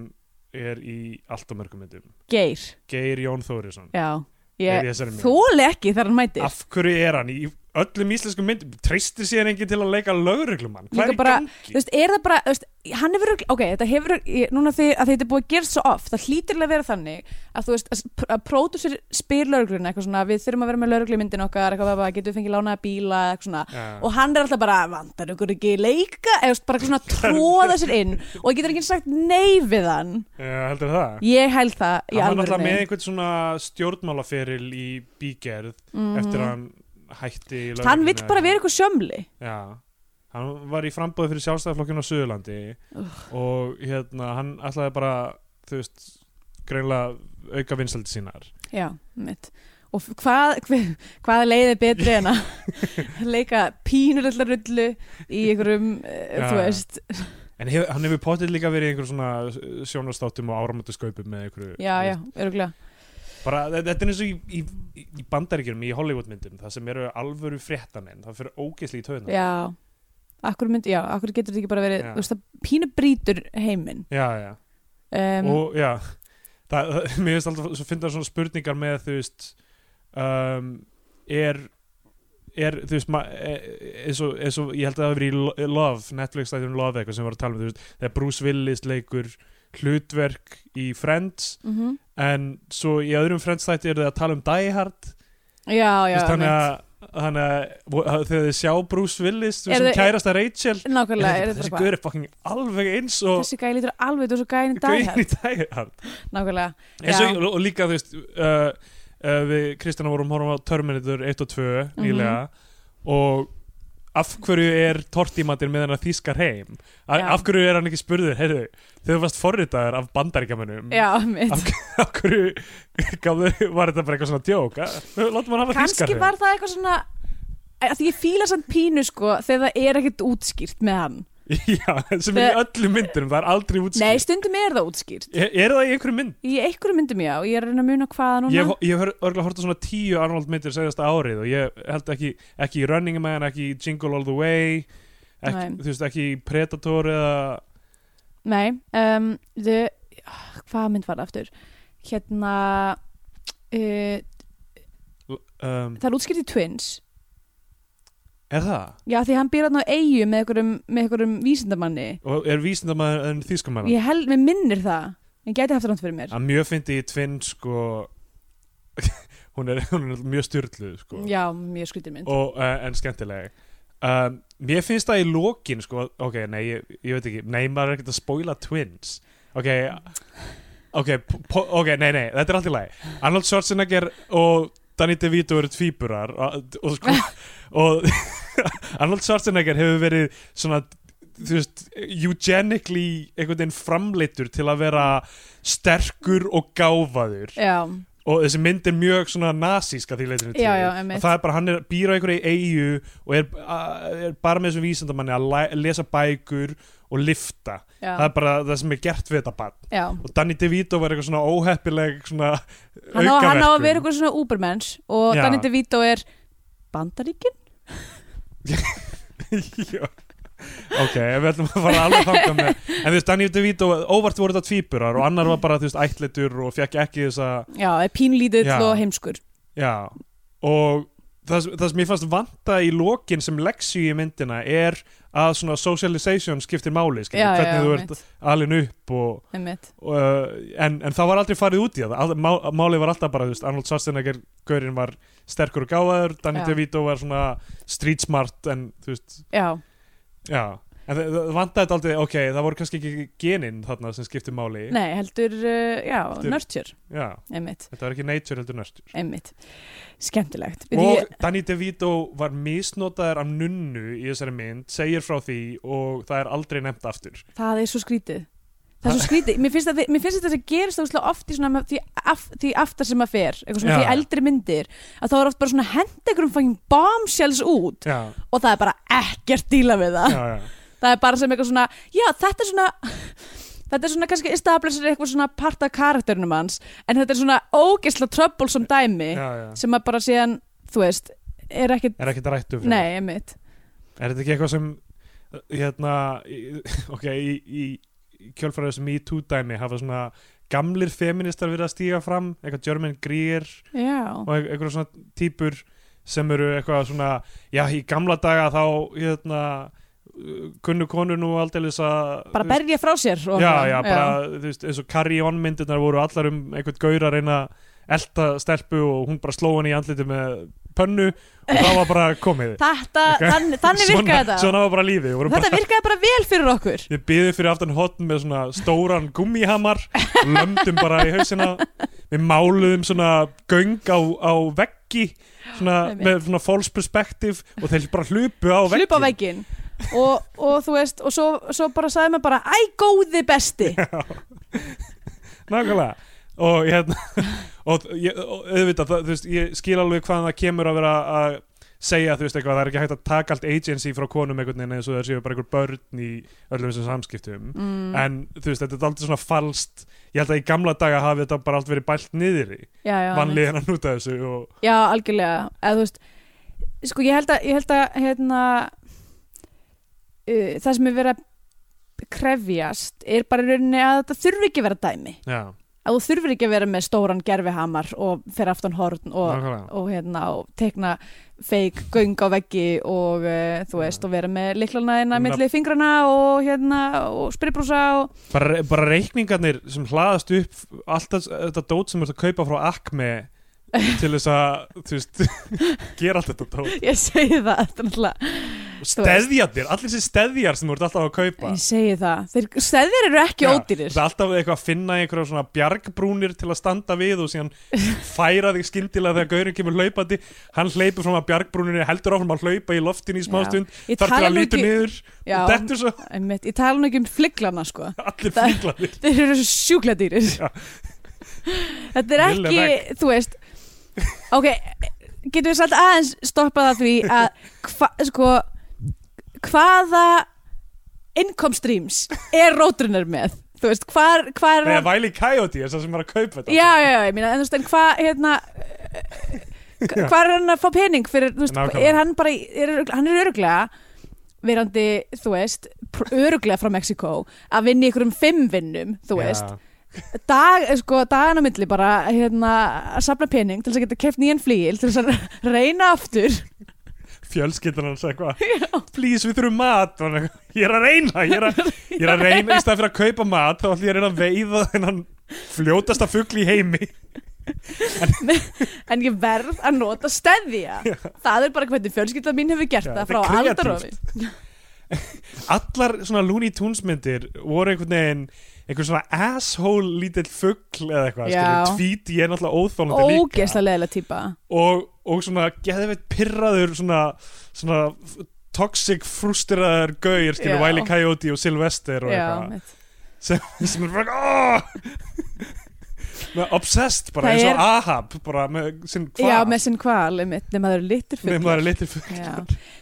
C: er í allt og mörgum myndum
B: geir
C: Geir Jón Þórisson
B: já,
C: er í
B: ég
C: þessari mynd.
B: þóli ekki þegar hann mætir
C: Af hverju er hann í öllum íslenskum myndum treystir síðan enginn til að leika lögreglumann
B: Líka
C: Hvað er í
B: bara,
C: gangi?
B: Þú veist, er það bara, þú veist, hann hefur, örugglega- ok, þetta hefur, ég- núna því að þetta er búið að gera svo oft, það hlýtirlega að vera þannig að þú veist, að, s- pr- að pródusir spyr lögreglun eitthvað svona, við þurfum að vera með lögreglumyndin okkar, eitthvað bara, getum við fengið lánaða bíla, eitthvað svona,
C: Já.
B: og hann er alltaf bara, vantar ykkur ekki leika, eða þú veist, bara eitthvað svona tróða sér inn og getur ekki sagt nei við hann,
C: Já, heldur það?
B: ég held það í
C: hann var náttúrulega með
B: alvörni.
C: einhvern svona stjórnmálaferil í bígerð eftir að hann hætti í
B: Mhm. Hann vill
C: lögreglunni.
B: bara vera eitthvað sjömli.
C: já, hann var í frambóði fyrir sjálfstæðaflokkinu á Suðurlandi og hérna, hann ætlaði bara þú veist, greinlega auka vinsaldi sínar
B: Já, mitt. Og f- hvað, hver, hvað leiði betri en að
C: [LAUGHS]
B: leika pínurullar rullu í einhverjum, uh,
C: Já.
B: þú veist,
C: en hef, hann hefur potið líka verið í einhverjum svona sjónastáttum og áramöndaskaupum með einhverju
B: já, já, öruglega.
C: bara, þe- þetta er eins og í, í, í bandaríkjum í Hollywoodmyndum, það sem eru alvöru fréttamenn, það fyrir ógeðsli í töðuna
B: Já, akkur myndi, já, akkur getur þetta ekki bara verið,
C: Já.
B: þú veist, það pínu brýtur heiminn.
C: já, já.
B: Um,
C: og já það, það, [LAUGHS] mér finnst alltaf að finna svona spurningar með þú veist um, er er þú veist ma- e- eins og, eins og ég held að það hafi verið í Lo- Love Netflix þættir um Love eitthvað sem var að tala um þú veist þegar Bruce Willis leikur hlutverk í Friends
B: mm
C: en svo í öðrum Friends þætti eru þið að tala um Die Hard
B: Já, já,
C: þú veist, þannig
B: mitt.
C: að þannig að vo- að þegar þið sjá Bruce Willis þú veist,
B: Eru
C: sem
B: þau-
C: kærasta Rachel
B: Nákvæmlega,
C: er
B: er
C: þessi
B: þetta bara,
C: gaur er fucking alveg eins og
B: þessi gæði lítur alveg, þú veist, gæðin í dag hérna.
C: gauðin í Die Hard
B: Nákvæmlega,
C: En
B: Já.
C: svo, og líka þú veist uh, uh, við Kristjana vorum horfum á Terminator 1 og 2
B: Mhm.
C: nýlega og af hverju er tortímatir með hennar þýskar heim A
B: Já.
C: af hverju er hann ekki spurður heyrðu, þau varst forritaðar af bandaríkjamanum
B: já, mitt.
C: Mm. af, [LAUGHS] af hverju gafðu, var þetta bara eitthvað svona djók að, látum hann hafa þýskar
B: kannski
C: heim
B: var það eitthvað svona að því ég fíla samt pínu sko þegar það er ekkert útskýrt með hann
C: [LAUGHS] já, sem er í
B: Þegar-
C: öllum myndunum, það er aldrei
B: nei,
C: útskýrt
B: stundum er það útskýrt
C: er, er það í einhverju mynd?
B: í einhverju myndum já, ég er að reyna að muna hvaða núna
C: Ég hef- ég hef hör- örgulega hort á svona tíu Arnold myndir segjast árið og ég held ekki, ekki í Running Man, ekki í Jingle All The Way ekki,
B: Nei.
C: þú veist, ekki í Predator eða
B: nei, um, the, ah, hvaða mynd var það aftur hérna uh,
C: um,
B: það er útskýrt í Twins
C: Er það?
B: já, því hann býr hann á eigu með einhverjum, með einhverjum vísindamanni
C: Og er vísindamaður en þýskamæður?
B: ég held, mér minnir það en gæti haft hann fyrir mér
C: Að mjög fyndi í Twin sko [LAUGHS] hún er, hún er mjög styrluð sko
B: já, mjög skrítið mynd
C: og, uh, en skemmtileg um, Mér finnst það í lokin sko, ok, nei, ég, ég veit ekki nei, maður er ekkert að spoila Twins ok, ok po- po- ok, nei, nei, þetta er allt í lagi Arnold Schwarzenegger og Danny DeVito eru tvíburar og, og, sko, og [LAUGHS] Arnold Schwarzenegger hefur verið svona þú veist, eugenically einhvern veginn framleittur til að vera sterkur og gáfaður
B: já,
C: og þessi mynd er mjög svona nasíska því leitinu til
B: Já, já,
C: og
B: einmitt.
C: það er bara hann er býr á einhverju eigu og er, a- er bara með þessum vísindamanni að læ- lesa bækur og lifta
B: já,
C: það er bara það sem er gert við þetta bann
B: já
C: og Danny DeVito var eitthvað svona óheppileg svona
B: hann á, hann á að
C: aukaverkun.
B: vera eitthvað svona Ubermensch og
C: Já.
B: Danny DeVito er bandaríkin?
C: [LAUGHS] Já. ok, ef við ætlum að fara alveg þangað með en þú veist, Danny DeVito, óvart voru þetta tvíburar og annar var bara, þú veist, ættleitur og fekk ekki þessa
B: Já, er pínlítill
C: Já.
B: og heimskur
C: Já, og það, sem- það sem ég fannst vanta í lokin sem leksi í myndina er að svona socialization skiptir máli, skiptir,
B: Já,
C: hvernig
B: já,
C: þú
B: einmitt.
C: ert alin upp og,
B: einmitt.
C: og uh, en, en það var aldrei farið út í það All, má, málið var alltaf bara, þú veist, Arnold Schwarzenegger gaurinn var sterkur og gáðaður Danny
B: Já.
C: DeVito var svona street smart en þú veist,
B: Já,
C: já En það, það vantaði þetta aldrei, ok, það voru kannski ekki genin þarna sem skipti máli
B: Nei, heldur, uh, já,
C: Heldur-
B: nurture
C: Já,
B: einmitt,
C: þetta var ekki nature heldur nörstur
B: einmitt skemmtilegt
C: Og
B: Ég-
C: Danny DeVito var misnotaður af nunnu í þessari mynd, segir frá því og það er aldrei nefnt aftur
B: það er svo skrítið það er svo skrítið, mér finnst, að, mér finnst þetta að gerist óslega oft í svona með- því, af, því aftar sem maður fer eitthvað svona
C: Já,
B: því
C: já.
B: eldri myndir að það er oft bara svona henda einhverjum fangin bombshells út
C: Já,
B: og það er bara ekkert díla við það
C: já, já
B: það er bara sem eitthvað svona, já þetta er svona þetta er svona kannski establisher eitthvað svona part af karakterinum hans en þetta er svona ógeðslega troublesome dæmi
C: Já, já.
B: sem maður bara síðan, þú veist er ekkert,
C: Er ekki þetta rættu fyrir?
B: nei, einmitt
C: um Er þetta ekki eitthvað sem uh, hérna, í- [LAUGHS] ok, í, í kjölfæra þessum í dæmi hafa svona gamlir feministar verið að stíga fram, eitthvað German Greer
B: já,
C: og ein- einhverja svona típur sem eru eitthvað svona já, í gamla daga þá hérna uh, kunnu konur nú aldeilis að
B: bara berja frá sér og
C: Mm. já,
B: eitthvað,
C: já, bara, þú veist, eins og Carrie On myndirnar voru allar um einhvern gaur að reyna að elta stelpu og hún bara sló hann í andliti með pönnu og það var bara komið
B: þetta,
C: Eitthvað-
B: þann, [LAUGHS] þannig virkaði
C: svona,
B: þetta
C: Svona var bara lífið, við vorum
B: þetta virkaði bara vel fyrir okkur
C: Við byðum fyrir aftan hotn með svona stóran gummihamar lömdum bara í hausina við máluðum svona göng á, á veggi svona,
B: Einmitt.
C: með svona false perspective og þeir bara hlupu á veggi
B: hlupa á veggin og, og þú veist, og svo, svo bara sagði maður bara æ góði
C: [LAUGHS]
B: besti
C: Nákvæmlega og, hérna, og, ég- og auðvitað, það, þú veist, ég skil alveg hvaðan það kemur að vera að segja þú veist eitthvað, það er ekki hægt að taka allt agency frá konum einhvern veginn eins og það séu bara einhver börn í öllum þessum samskiptum
B: mm,
C: en þú veist, þetta er aldrei svona falskt ég held að í gamla daga hafi þetta bara allt verið bælt niður í,
B: já, já,
C: vanliðin að núta þessu og,
B: já, algjörlega eða þú veist, sko ég held að, ég held að hérna uh, það sem er verið að krefjast er bara í rauninni að þetta þurfi ekki að vera dæmi
C: já,
B: að þú þurfir ekki að vera með stóran gerfihamar og fyrir aftan horn og,
C: nákvæmlega
B: og hérna og tekna feik göng á veggi og uh, þú veist og vera með liklanaðina
C: Nafn-
B: milli fingrana og hérna og spribbrúsa og [LAUGHS]
C: bara, bara reikningarnir sem hlaðast upp alltaf þetta dót sem þú ert að kaupa frá Acme
B: [LAUGHS]
C: til þess að þú veist, [LAUGHS] gera allt þetta dót
B: ég segi það þetta er náttúrulega,
C: og steðjarnir, allir þessi steðjar sem þú ert alltaf að kaupa
B: ég segi það þeir stæðir eru ekki
C: Já,
B: ódýrir
C: Þetta er alltaf eitthvað að finna einhverja svona bjargbrúnir til að standa við og síðan færa þig skyndilega þegar gaurinn kemur hlaupandi hann hleypur frá að bjargbrúnir heldur áfram að hlaupa í loftin í smástund
B: ég
C: þar til
B: tala
C: að
B: nú
C: lítur
B: ekki
C: niður
B: Já.
C: og dettur svo
B: einmitt, ég tala nú ekki um fliglana sko
C: allir
B: Það-
C: fíklaðir
B: þeir eru svo sjúkla dýrir
C: Já.
B: þetta er
C: Lille
B: ekki, þú veist ok, getum við satt aðeins stoppað að því að hva, sko, hvaða income streams er rótrunar með þú veist, hvar, hvar
C: Nei, Væli Coyote er það sem er að kaupa þetta
B: já, já, já, ég meina, en þú veist, en hvað hérna,
C: [LAUGHS]
B: hvað er hann að fá pening fyrir, þú veist,
C: Nákvæmlega.
B: er hann bara í- er, örugglega- hann er öruglega verandi, þú veist, öruglega frá Mexiko að vinna í einhverjum fimm vinnum, þú veist, dag, eh, sko, dagan á milli bara, hérna, að safna pening til þess að geta keft nýjan flýil, til þess að [LAUGHS] reyna aftur,
C: fjölskyldan hans
B: [LAUGHS]
C: eitthvað please við þurfum mat og hann eitthvað, ég er að reyna ég er
B: [LAUGHS]
C: að, ég er að reyna í stað fyrir að kaupa mat þá ætlum ég að reyna að veiða þennan fljótasta fugl í heimi
B: en ég verð að nota steðja, það er bara hvernig fjölskylda mín hefur gert
C: Já,
B: það
C: þetta
B: frá
C: er kreatíft.
B: aldarofi
C: allar svona Looney Tunes myndir voru einhvern veginn einhver svona asshole lítill fugl eða eitthvað,
B: Já.
C: skilur, tvít ég er náttúrulega óþólandi líka
B: ógeðslega leðilega típa
C: og, og svona geðveitt pirraður svona, svona f- toxic frustraður gauir skilur
B: Já.
C: Wiley E. Coyote og Sylvester og
B: Já,
C: eitthvað
B: mitt.
C: sem, sem er bara oh! [LAUGHS] með obsessed bara
B: Það
C: eins og
B: er-
C: Ahab bara með sinn hvað
B: Já, með sinn kval, einmitt, nema það eru litir
C: með
B: fuglar.
C: maður er litur fugl
B: Já.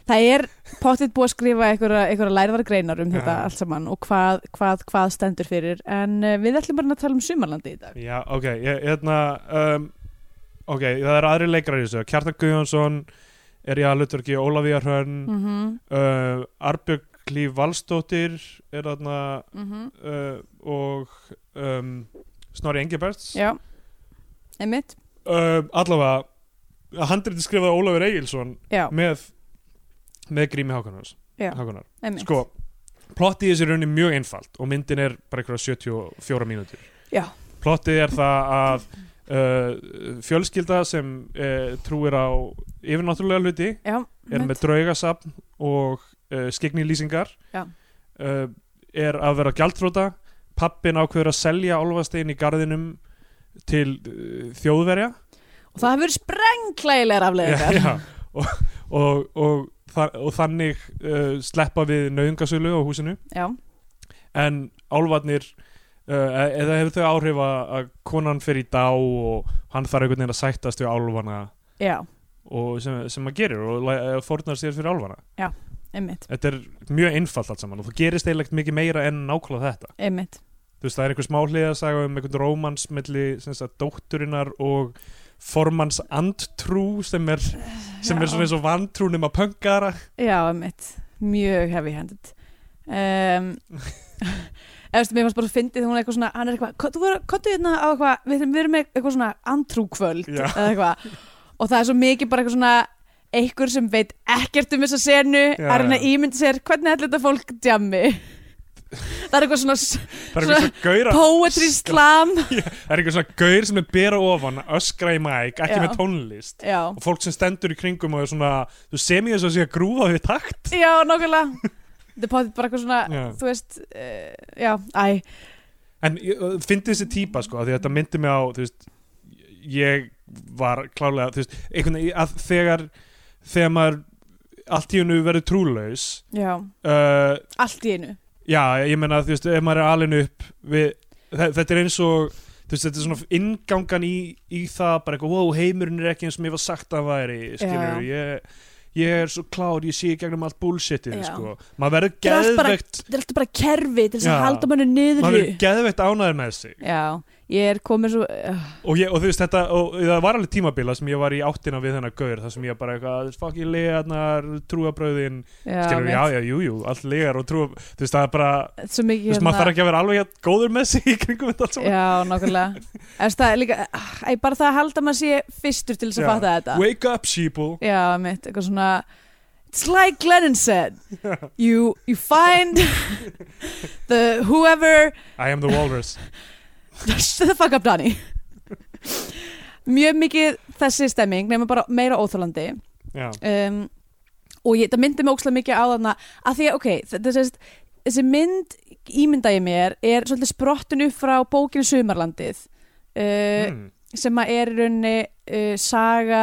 B: Það er pottitt búið að skrifa einhverja, einhverja lærðar greinar um þetta
C: Já.
B: allt saman og hvað, hvað, hvað stendur fyrir en uh, við ætlum bara að tala um sumarlandi í dag.
C: Já, ok, ég, hérna um, ok, það eru aðri leikrar í þessu Kjartan Guðjónsson er í aðlutverki Ólafía Hrönn mm.
B: Mm -hmm,
C: uh, Arbjörg Klíf Valstóttir er þarna
B: mm -hmm.
C: uh, og um, Snorri Engiberts
B: Já, einmitt,
C: uh, allavega handriti skrifaði Ólafur Egilson
B: já,
C: með, með Grími Hákonars
B: Já.
C: Hákonar.
B: einmitt.
C: sko, plottið í þessu raunni mjög einfalt og myndin er bara einhverja 74 mínútur
B: Já,
C: plottið er það að uh, fjölskylda sem uh, trúir á yfirnáttúrulega hluti
B: já,
C: er með draugasafn og uh, skegni lýsingar
B: Já.
C: uh, er að vera gjaldþróta pappin ákveður að selja álfastein í garðinum til uh, þjóðverja
B: og það hefur sprengklægilegar afleðingar
C: [LAUGHS] já, og, og, og, þa og þannig uh, sleppa við nöðungasölu á húsinu
B: já,
C: en álfarnir uh, eða hefur þau áhrif að, að konan fer í dá og hann þarf einhvern veginn að sættast við álfana
B: já,
C: og sem, sem maður gerir og læ- eh, fórnar sér fyrir álfana
B: einmitt,
C: þetta er mjög einfalt allt saman og þú gerist eiginlegt mikið meira en nákvæmlega þetta
B: einmitt
C: þú veist það er einhver smá hlið að sagja um einhvern rómans milli sem sagt, dótturinnar og formans andtrú sem er, sem er
B: Já.
C: svona eins og vantrú nema pöngara
B: Já, mitt, mjög heavy handed um, [LAUGHS] Eða veistu, mér fannst bara að fyndið hún er eitthvað svona, hann er eitthvað, "Ko- þú verður, kottu hérna á eitthvað, við erum, við erum með eitthvað svona antrúkvöld
C: Já.
B: eða eitthvað og það er svo mikið bara eitthvað svona einhver sem veit ekkert um þessa senu
C: Já,
B: er hann að
C: já.
B: ímynda sér hvernig ætla þetta fólk
C: [LAUGHS]
B: djammi það er eitthvað svona s-
C: það er einhver svona gaur að-
B: poetry slam
C: það er einhver svona gaur sem er bera ofan að öskra í mæk, ekki
B: Já.
C: með tónlist
B: Já,
C: og fólk sem stendur í kringum og er svona, þú sem ég þess að sé að grúfa við takt
B: já, nákvæmlega þetta er potið bara eitthvað svona,
C: Já.
B: þú veist uh, já, æ,
C: en fyndi þessi típa sko, af því að þetta myndi mig á þú veist, ég var klálega, þú veist, einhvern veginn að þegar, þegar maður allt í hennu verður trúlaus
B: já,
C: uh,
B: allt í einu
C: já, ég meina, þú veist, ef maður er alin upp við, þe- þetta er eins og þú veist, þetta er svona inngangan í, í það bara eitthvað, wow, heimurinn er ekki eins og mér var sagt að hann væri, skilur ég, ég er svo klár, ég sé í gegnum allt bullshitið,
B: Já.
C: sko, maður verður
B: Þetta er allt bara
C: geðvegt
B: þetta er alltaf bara kerfi til þess að
C: Já.
B: halda manni niður
C: maður verður geðveitt ánæður með sig
B: Já, ég er komin svo uh,
C: og, ég, og þú veist þetta, og, það var alveg tímabila sem ég var í áttina við þennan gaur þar sem ég bara eitthvað, fokk ég legarnar trúabröðin,
B: já,
C: skilur,
B: mitt.
C: já, já, jú, jú allt legar og trúa, þú veist það er bara
B: Þetta er Svo mikið hérna-
C: þú veist, maður þarf ekki að vera alveg jafn góður með sig í kringum þetta allt saman
B: Já,
C: [LAUGHS]
B: nákvæmlega Efst, Það er líka, æ, bara það að halda maður sé fyrstur til þess að
C: Já.
B: fatta þetta
C: wake up sheeple
B: Já, mitt, eitthvað svona It's like Glennon
C: [LAUGHS]
B: said You, you find the whoever
C: I am the walrus [LAUGHS]
B: Shut the fuck up Danny Mjög mikið þessi stemming nema bara meira óþálandi
C: já,
B: um, og ég, það myndi mig ókslega mikið á þarna að því að, ok, þetta sést þessi mynd, ímynda ég mér er svolítið sprottin upp frá bókinu Sumarlandið uh,
C: mm,
B: sem að er í rauninni uh, saga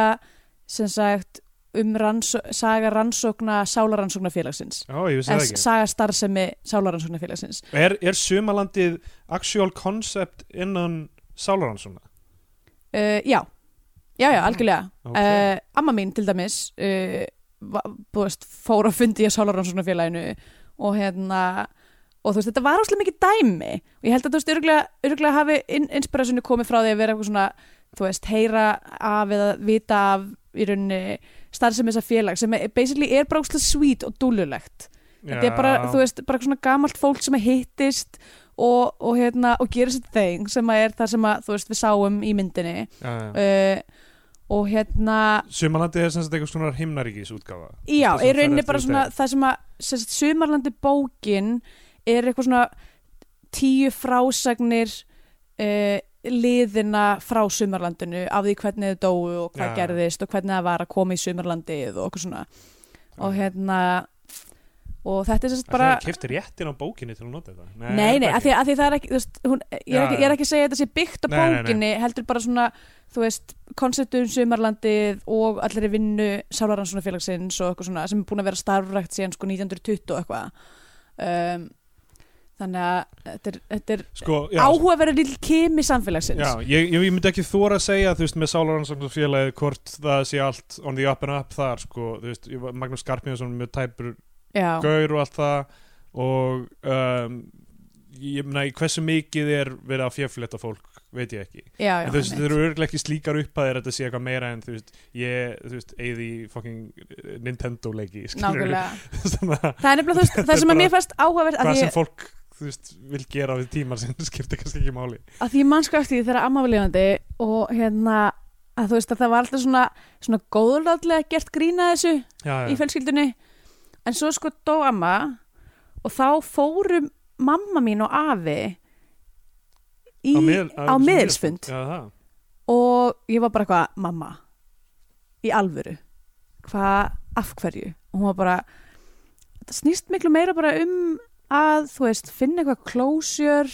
B: sem sagt um rannsó saga rannsókna sálarannsóknafélagsins
C: ó, ég vissi
B: en
C: það ekki
B: saga starfsemi sálarannsóknafélagsins
C: er, er sumalandið actual concept innan sálaransuna?
B: uh, já, já, já, algjörlega
C: Ok.
B: uh, amma mín til dæmis uh, va- þú veist, fór að fundi í að sálarannsóknarfélaginu og hérna og þú veist, þetta var áslega mikið dæmi og ég held að þú veist, örgulega, örgulega hafi in, inspirasjónu komið frá því að vera eitthvað svona þú veist, heyra af eða vita af í rauninni starfsemi þessa félag sem er, basically er bara óslega sweet og dúlulegt þetta er bara, þú veist, bara svona gamalt fólk sem að hittist og, og hérna, og gerir sér þeng sem að er það sem að, þú veist, við sáum í myndinni
C: veist
B: uh, og hérna
C: sumalandið er sem sagt eitthvað svona himnaríkis útgáfa
B: já,
C: Þetta
B: í
C: er svona
B: rauninni
C: ferð
B: bara
C: eftir
B: svona
C: dag.
B: það sem að sem sagt, sumarlandi bókin er eitthvað svona tíu frásagnir uh, liðina frá sumarlandinu af því hvernig þau dóu og hvað
C: Já.
B: gerðist og hvernig það var að koma í sumarlandið og okkur svona og hérna og þetta er sérst
C: bara...
B: bara
C: Það kefti réttin á bókinni til að nota þetta
B: Nei, nei,
C: þetta
B: af því, af því það er ekki, þú veist, hún, ég, er
C: Já,
B: ekki ég er ekki að segja að þetta sé byggt á
C: Nei, nei, nei.
B: bókinni heldur bara svona, þú veist, konceptum sumarlandið og allir vinnu sálarannsónafélagsins og eitthvað svona sem er búin að vera starfrækt síðan sko 1920 og eitthvað um, þannig að þetta er, þetta er
C: Sko, já,
B: áhuga verið lill kimi
C: já
B: samfélagsins
C: ég, ég, ég myndi ekki þóra að segja þú veist með sálaransóknarfélagið hvort það sé allt on the up and up þar sko, þú veist, ég var- Magnús Skarpíðansson með tæpur
B: Já,
C: gaur og allt það og um, ég meina í hversu mikið er verið að fjöflétta fólk veit ég ekki,
B: já, já,
C: en þú veist,
B: einmitt.
C: þeir eru örglega ekki slíkar upphæðir að þetta sé eitthvað meira en þú veist ég, þú veist, eigði í fucking eh, Nintendo leiki, skilur
B: nákvæmlega
C: [LAUGHS] Svona,
B: Það er nefnilega, þú veist, það sem að
C: bara-
B: mér fæst áhugaverð að
C: hvað
B: ég,
C: sem fólk þú veist, vil gera við tímar sem [LAUGHS] skiptir kannski ekki máli
B: að því ég mannsku eftir því þegar amma var lifandi og hérna að þú veist að það var alltaf svona, svona góðurlátlega gert grína þessu
C: já,
B: í fjölskyldunni en svo sko dó amma og þá fóru mamma mín og afi í, á,
C: miðil-
B: miðilsfund
C: Já, það.
B: og ég var bara eitthvað mamma, í alvöru hvað, af hverju og hún var bara þetta snýst miklu meira bara um að þú veist, finna eitthvað klósjör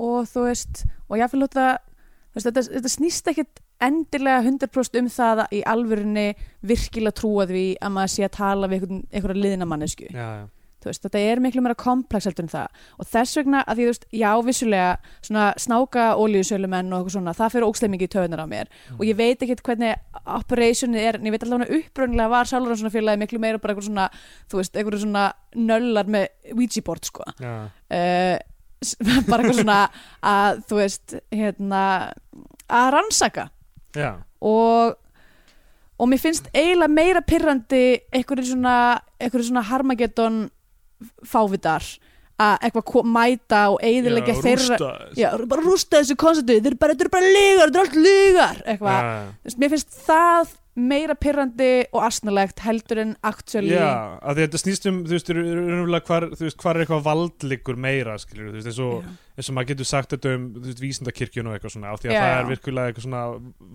B: og þú veist og ég fyrir lóta þú veist, þetta, þetta snýst ekkit endilega 100% um það að í alvörinni virkilega trúa því að maður sé að tala við einhvern- einhverja liðina mannesku
C: já, já,
B: þú veist, þetta er miklu meira komplex heldur en það og þess vegna að því, þú veist, já, vissulega svona snáka ólíusölumenn og eitthvað svona, það fyrir ógslega mikið í töðunar á mér og ég veit ekkert hvernig operationið er, en ég veit allavega að upprunlega var Sáluranssonafélagi miklu meira bara eitthvað svona þú veist, eitthvað svona nöllar með Ouija board, sko
C: já,
B: uh, [LAUGHS] bara eitthvað svona að, þú veist, hérna að rannsaka
C: já.
B: og og mér finnst eiginlega meira pyrrandi einhverju svona, einhverju svona harmageddon fávitar að eitthvað ko- mæta og eiginlega þeirra
C: rústa,
B: já, bara rústa þessu konsertu, þeir eru bara, þeir eru bara lygar þeir eru allt lygar,
C: já,
B: eitthvað Þú veist, mér finnst það meira pyrrandi og asnalegt heldur en actually
C: já, að því þetta snýst um þú veist, raunverulega hvar, þú veist, hvar er eitthvað valdliggur meira, skilur, þú veist, eins og
B: Já.
C: eins og maður getur sagt þetta um, þú veist, vísindakirkjun og eitthvað svona, á því að
B: Já,
C: það
B: já.
C: er virkulega eitthvað svona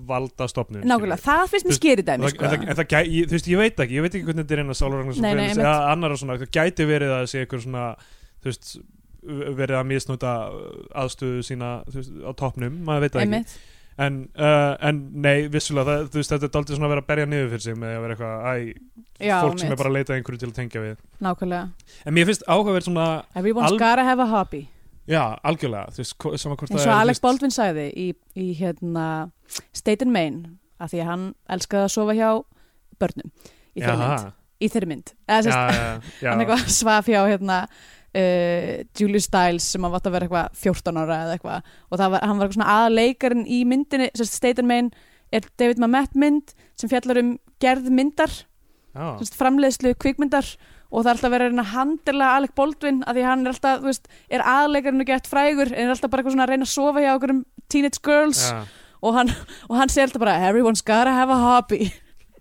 C: valdastofnun
B: nákvæmlega, það finnst mér
C: Þú-
B: skeri
C: En
B: dæmi
C: það,
B: sko.
C: en það, en það gæ, ég, þú veist, ég veit ekki, ég veit ekki hvernig þetta er innan
B: Nei, nei,
C: sálaragnar
B: einmitt.
C: eða annar og svona, það gæti verið að það sé eitthvað svona, þú veist verið að misnúta aðstöðu sína þú veist, á toppnum, maður veit það ekki
B: einmitt,
C: en, uh, en nei, vissulega það, þú veist, þetta er daldið svona að vera að berja niður fyrir sig með að vera eitthvað, æ,
B: Já,
C: fólk sem
B: einmitt.
C: er bara að leita að einhverju til að tengja við
B: nákvæmlega
C: en mér finnst áhugaverð svona,
B: everyone's
C: Al-
B: gotta have a hobby
C: já, algjörlega þú veist, hvo- sama hvort
B: eins og
C: það er,
B: Alec
C: þú veist,
B: Baldwin sagði í, í hérna State and Maine að því að hann elskaði að sofa hjá börnum í þeirri mynd,
C: jaha,
B: í þeirri mynd. Eða,
C: já,
B: sérst,
C: já,
B: hann
C: já,
B: eitthvað [LAUGHS] svaf hjá hérna uh, Julie Stiles sem hann vatt að vera eitthvað 14 ára eða eitthvað og það var, hann var eitthvað svona aðleikarinn í myndinni sérst, State and Maine er David Mamet mynd sem fjallar um gerð myndar Þú
C: já,
B: veist, framleiðslu kvikmyndar og það er alltaf verið að reyna að handla Alec Baldwin að því að hann er alltaf, þú veist, er aðleikarinn og gett frægur en er alltaf bara eitthvað svona að reyna að sofa hjá okkur um teenage girls
C: já.
B: og hann, og hann segir alltaf bara everyone's gotta have a hobby [LAUGHS]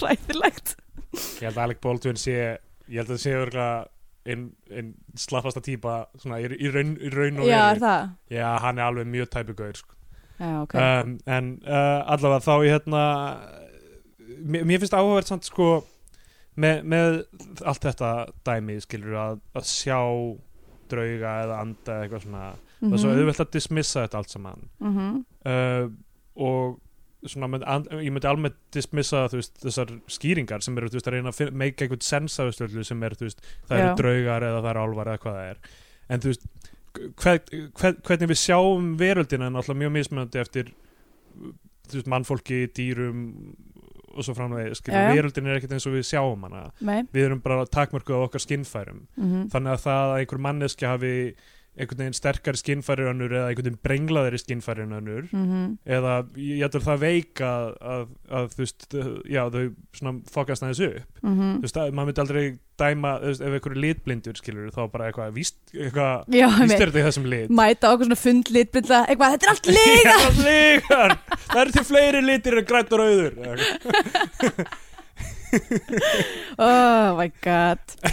B: Ræðilegt
C: Ég held að Alec Baldwin sé Ég held að það sé örgulega einn ein slappasta típa svona, í, í, raun, í raun og
B: Já, er
C: veru
B: það?
C: Já, hann er alveg mjög tæpugauður sko.
B: Já, ok
C: um, En uh, allavega þá ég hérna Mér, mér finnst áhugavert samt sko með, með allt þetta dæmi skilur að, að sjá drauga eða anda eða eitthvað svona það er svo auðvelt að dismissa þetta allt saman
B: Mhm.
C: uh, og svona, mynd, and, ég myndi almennt dismissa þú veist, þessar skýringar sem eru þú veist, að reyna að fin- make einhvern sens af þessu öllu sem er, þú veist, það
B: Já.
C: eru draugar eða það eru álvar eða hvað það er en þú veist, hver, hver, hvernig við sjáum veröldina er náttúrulega mjög mismunandi eftir þú veist, mannfólki, dýrum og svo framvegis,
B: Já, já.
C: veröldin er ekkert eins og við sjáum hana
B: Nei,
C: við erum bara takmörkuð á okkar skinnfærum
B: mhm.
C: þannig að það að einhver manneski hafi einhvern veginn sterkari skinnfæri en önnur eða einhvern veginn brenglaðari skinnfæri en önnur
B: Mhm.
C: eða ég ég ætlur það veik að, að, að þú veist, þau- já, þau svona fokast aðeins upp
B: Mhm.
C: þú veist, að, maður myndi aldrei dæma þú veist, ef einhverju litblindur skilur þá bara eitthvað, víst, eitthvað
B: Já,
C: víst
B: einmitt.
C: er þetta í þessum lit
B: mæta okkur svona fundlit byrla, eitthvað, þetta er allt lit
C: [LAUGHS] Já, líkar, það eru til fleiri litir en grænt og rauður Eða eitthvað.
B: Oh my god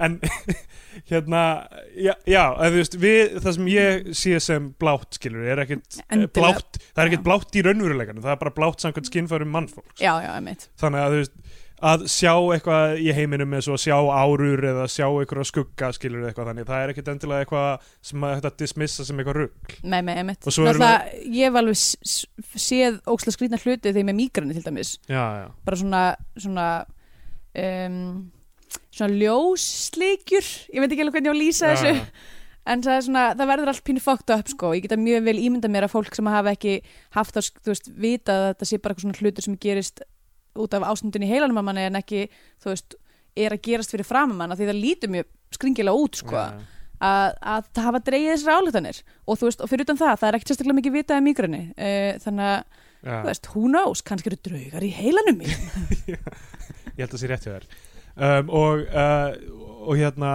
C: en [LAUGHS] hérna, já, já en, þú veist, við, það sem ég sé sem blátt skilur, er ekkit
B: Endilega.
C: blátt, það er ekkit
B: Já.
C: blátt í raunveruleikanu það er bara blátt samkvæmt skinnfærum mannfólk
B: Já, já, einmitt
C: þannig að þú veist að sjá eitthvað í heiminum eins og að sjá árur eða sjá einhverja skugga skilur eitthvað þannig, það er ekkit endilega eitthvað sem maður þetta dismissa sem eitthvað rugg
B: Nei, nei, einmitt
C: Og svo erum
B: Náttúrulega, ég hef alveg s- s- séð ókslega skrýtna hluti þegar ég er með mígrani til dæmis
C: já, já,
B: bara svona svona, um, svona ljósleikjur ég veit ekki alveg hvernig ég á að lýsa þessu [LAUGHS] en það, er svona, það verður allt pínu fókt upp sko. ég geta mjög vel ímyndað mér að fólk sem hafa ekki haft að þú veist, vita að þetta sé bara eitthvað svona hlutur sem gerist út af ástundin í heilanum að manni en ekki þú veist, er að gerast fyrir framum manna því það lítur mjög skringilega út [LAUGHS] sko að, að það hafa dreigið þessar álítanir og þú veist, og fyrir utan það, það er ekkert sérstaklega mikið vitað um mýgrunni, uh, þannig að
C: já,
B: þú veist, who knows, kannski eru draugar í heilanum mínum
C: ég held að sé rétt hjá þér um, og, uh, og hérna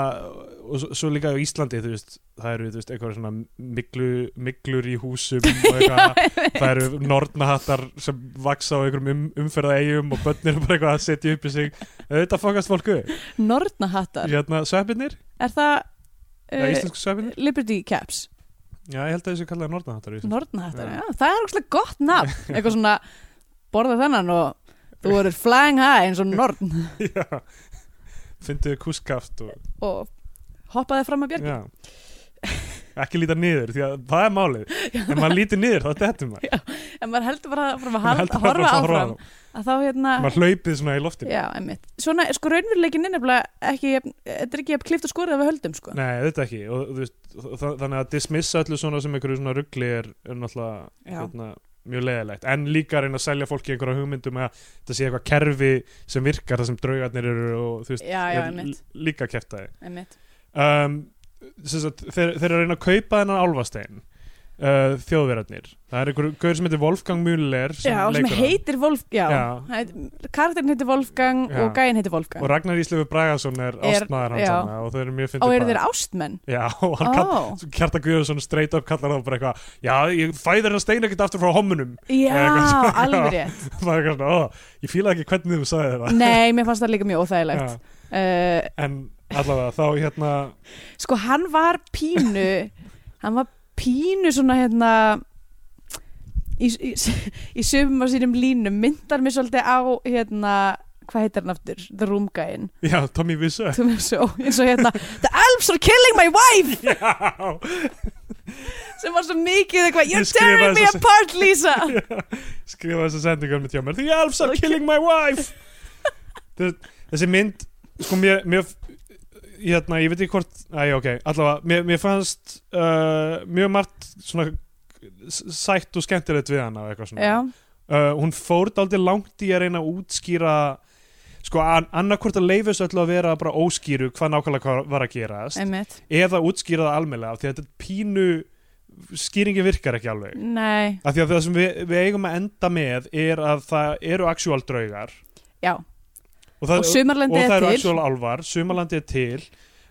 C: og svo, svo líka á Íslandi þú veist, það eru þú veist, eitthvað svona miglu, miglur í húsum
B: [LAUGHS]
C: og eitthvað, það eru nornahattar sem vaksa á einhverjum um, umferða eigum og börnir [LAUGHS] bara eitthvað að setja upp í sig þetta fokast fólku,
B: Nornahattar,
C: hérna sveppinir
B: er það
C: Já,
B: uh,
C: íslensku sveppinir?
B: Liberty Caps
C: Já, ég held að þessu kallaði nornahattar í Íslandi.
B: Nornahattar,
C: Já.
B: já, það er ókslega gott nafn
C: [LAUGHS]
B: eitthvað svona, borða þennan og þú verður
C: [LAUGHS]
B: flying high eins og norn
C: Já, fynduðu kúskaft og
B: og hoppaði fram að björgi
C: Já. ekki líta niður því að það er
B: [LAUGHS]
C: málið ef maður lítur niður þá dettum maður
B: en maður heldur bara áfram að
C: Maður
B: hal-
C: heldur
B: að horfa
C: bara að
B: áfram að þá hérna
C: maður hlaupið svona í loftinu
B: já, einmitt svona, sko raunveruleikin er nefnilega ekki jafn- þetta er ekki jafn klift og skorið að við höldum sko
C: nei, þetta ekki og, þú veist, þa- þannig að dismissa öllu svona sem einhverju svona ruggli er, er náttúrulega
B: já,
C: hérna, mjög leðilegt en líka að reyna að selja fólki einhverja hugmyndum að þetta sé eitthvað kerfi sem virkar það sem draugarnir eru og þú veist
B: já, já,
C: er
B: einmitt,
C: l- líka kæftæði
B: einmitt.
C: um, sem sagt, þeir, þeir eru að reyna að kaupa þennan álfastein uh, þjóðverðarnir það er einhver gaur sem heitir Wolfgang Müller sem,
B: já, og sem
C: leikur hann.
B: heitir Wolf já,
C: Já.
B: hann heit- karakterinn heitir Wolfgang
C: Já.
B: og gæinn heitir Wolfgang
C: og Ragnar Íslöfu Bragason er,
B: Er-
C: ástmaður hans
B: já.
C: hana, og þau eru mjög
B: og
C: fyndið
B: eru þeir ástmenn
C: já, og hann kall,
B: Ó,
C: Kjartan Guðjónsson straight up kallar það bara eitthvað já, ég fæðir hann stein ekkert aftur frá homunum
B: já,
C: eitthvað svona,
B: alveg
C: já.
B: rétt
C: [LAUGHS] það er eitthvað svona, ó, ég fíla ekki hvernig þú sagði það
B: nei, mér fannst það líka mjög óþægilegt uh,
C: en allavega þá hérna
B: sko hann var pínu hann var pínu svona hérna í, í, í sömum á sínum línum myndar mér svolítið á hérna hvað heitir hann aftur? The Room Guy-in
C: já, Tommy Wiseau [LAUGHS]
B: Þú veist, svo- eins og hérna The elves are killing my wife
C: já,
B: sem var svo mikið eitthvað You're
C: Ég skrifaði
B: tearing me
C: þessa-
B: apart
C: [LAUGHS]
B: Lisa
C: skrifa þess að sendingar með tjámer The elves are killing my
B: [LAUGHS]
C: wife Þess- þessi mynd sko mér, mér hérna, ég veit ekki hvort, æ ok, allavega mér, mér fannst uh, mjög margt svona s- sætt og skemmtilegt við hana og eitthvað svona
B: Já,
C: uh, hún fór daldið langt í að reyna að útskýra sko annarkvort að leifis öllu að vera bara óskýru hvað nákvæmlega hvað var að gerast
B: einmitt
C: eða útskýra það almennilega af því að þetta er pínu skýringin virkar ekki alveg
B: Nei,
C: af því að það sem við, við eigum að enda með er að það eru actual draugar
B: já
C: og
B: Og sumarlandi
C: og það
B: er
C: eru
B: til
C: actual álvar, sumalandi er til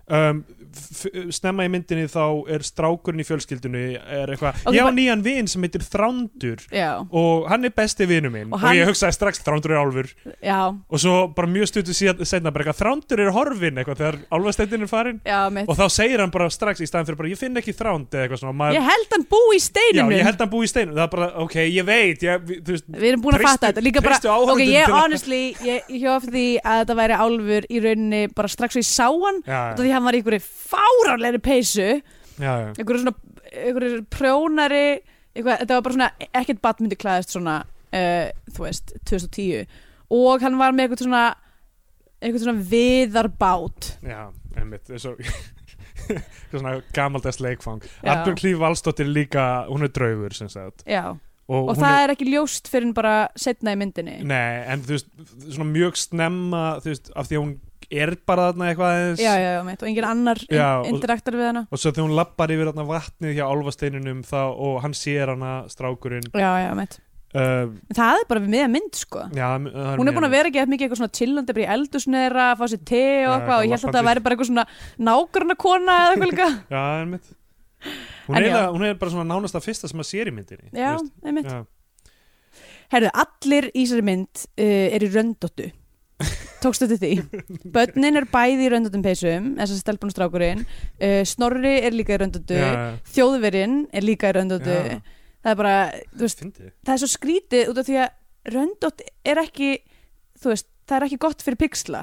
C: um, f- f- snemma í myndinni þá er strákurinn í fjölskyldinu er eitthvað,
B: Ok,
C: ég á
B: bara-
C: nýjan vin sem heitir Þrándur
B: Já,
C: og hann er besti vinu minn
B: Og
C: og,
B: hann-
C: ég hugsaði strax Þrándur er álfur
B: já,
C: og svo bara mjög stutu síðan seinna bara eitthvað, Þrándur er horfin eitthvað þegar álfasteinnin er farin
B: já, mitt
C: og þá segir hann bara strax í staðin fyrir bara ég finn ekki Þránd eða eitthvað svona og maður,
B: Ég held hann búi í
C: já,
B: steininum
C: ég held hann búi í steinum það er bara, ok, ég veit ég, við- þú veist,
B: Við erum búin að
C: Treystu-
B: fatta þetta líka bara,
C: treystu áhorfendum
B: ok,
C: til
B: ég
C: að-
B: honestly ég, ég hjóf því að þetta væri álfur í rauninni bara strax og ég sá hann
C: já,
B: út af
C: já,
B: því hann var í einhverju fáránlegri peysu
C: já, já.
B: einhverju svona, einhverju prjónari eitthvað, þetta var bara svona, ekkert bat myndi klæðist svona, uh, þú veist 2010 og hann var með eitthvað svona eitthvað svona viðarbát
C: Já, einmitt eins og- [LAUGHS] eitthvað svona gamaldast leikfang
B: Já.
C: Artur Klíf Valstóttir líka, hún er draugur sem sagt
B: já,
C: og,
B: og
C: hún
B: það er ekki ljóst fyrir hann bara setna í myndinni
C: er, nei, en þú veist svona mjög snemma, þú veist af því að hún er bara þarna eitthvað aðeins
B: já, já, já, mitt, og engin annar
C: Já,
B: in,
C: og-
B: interaktar við hana
C: og svo þegar hún lappar yfir þarna vatnið hjá álfasteininum þá, og hann sér hana strákurinn
B: já, já, mitt,
C: uh,
B: það er bara við miðja mynd sko
C: já, m- það
B: hún er
C: mjög-
B: búin að vera ekki eftir mikið eitthvað svona chillandi bara í eldusneira, að fá sér te og
C: Já,
B: eitthvað og ég held að
C: lappandi.
B: þetta væri bara eitthvað svona nágrunna kona eða eitthvað líka
C: já, einmitt
B: En
C: hún, er
B: já.
C: eiginlega- hún er bara svona nánast að fyrsta sem maður sér í myndinni
B: já,
C: þú veist.
B: einmitt
C: já.
B: herðu, allir í þessari mynd uh, er í röndóttu tókstu þetta
C: [LAUGHS]
B: því börnin er bæði í röndóttum peysum þess að stelpun og strákurinn uh, snorri er líka í röndóttu
C: já,
B: þjóðverinn er líka í röndóttu
C: já,
B: það er bara, þú veist,
C: fyndið
B: það er svo skrítið út af því að röndótt er ekki þú veist, það er ekki gott fyrir pixla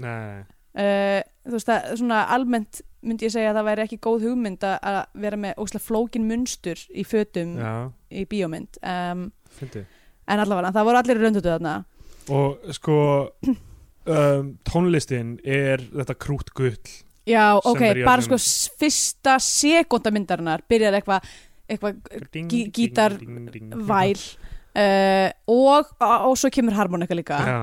C: nei,
B: uh, þú veist að svona almennt myndi ég segja að það væri ekki góð hugmynd að- að vera með óslega flókin munstur í fötum
C: já,
B: í bíómynd um,
C: fyndið
B: en allavega það voru allir röndutu þarna
C: og sko um, tónlistin er þetta krútgull
B: já
C: Sem
B: ok,
C: er í
B: bara sko
C: öllum-
B: s- fyrsta sekunda myndarinnar byrjar eitthvað eitthvað Gí- gítar- væl uh, og, og svo kemur harmonika líka
C: já,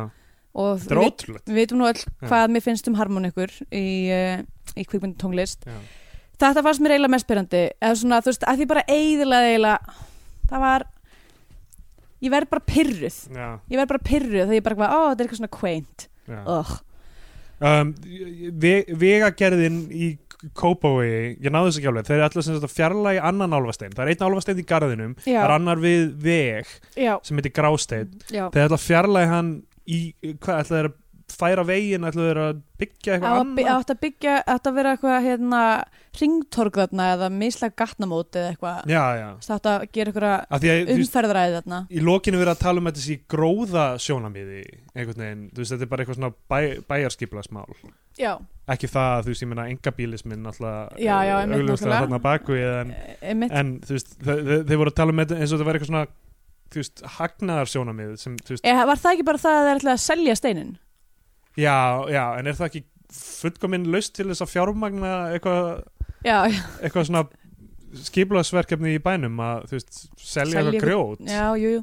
B: og
C: þetta er
B: við,
C: ótrúlegt
B: við veitum nú öll hvað mér finnst um harmonikur í, uh, í kvikmynd tónlist
C: Já.
B: þetta fannst mér eiginlega mest byrjandi eða svona þú veist að því bara eiginlega eiginlega það var ég verð bara pyrruð
C: já,
B: ég verð bara pyrruð þegar ég bara hvað, ó þetta er eitthvað svona quaint
C: já.
B: Ugh.
C: Um, ve- vegagerðin í Kópavogi, ég náðu þess ekki alveg þeir eru allir sem þetta fjarlægi annan álfastein það er einn álfastein í garðinum,
B: já,
C: það er annar við veg
B: já,
C: sem heitir grástein
B: já,
C: þeir ætla að fjarlægi hann í, hvað ætla þeir að færa veginn ætluðu þeir að byggja
B: Á
C: eitthvað
B: að by-
C: annað
B: átti að byggja, átti að vera eitthvað hérna, ringtorg þarna eða mislega gatnamóti eða eitthvað
C: já, já,
B: átti að gera eitthvað
C: af því að þú veist,
B: umferðræði þarna
C: í lokinu verið að tala um þetta sé gróða sjónamiði einhvern veginn, þú veist, þetta er bara eitthvað svona bæ, bæjarskiplasmál
B: já,
C: ekki það, að, þú veist, ég meina engabílismin alltaf
B: Já, já, einmitt, nákvæmlega.
C: augljóslega þarna baku en,
B: E, einmitt,
C: en þú veist, þe- þe- þeir voru að tala um þetta eins og þetta var eitthvað svona þú veist, hagnaðar sem, þú veist,
B: e, var það ekki bara það að það er ætlaði að selja steinin
C: já, já en er það ekki fullkominn laust til þess að fjármagna eitthvað
B: já, já,
C: eitthvað svona skipulagsverkefni í bænum að, þú veist, selja,
B: Selja
C: eitthvað
B: eitthvað-
C: grjót
B: já, jú, jú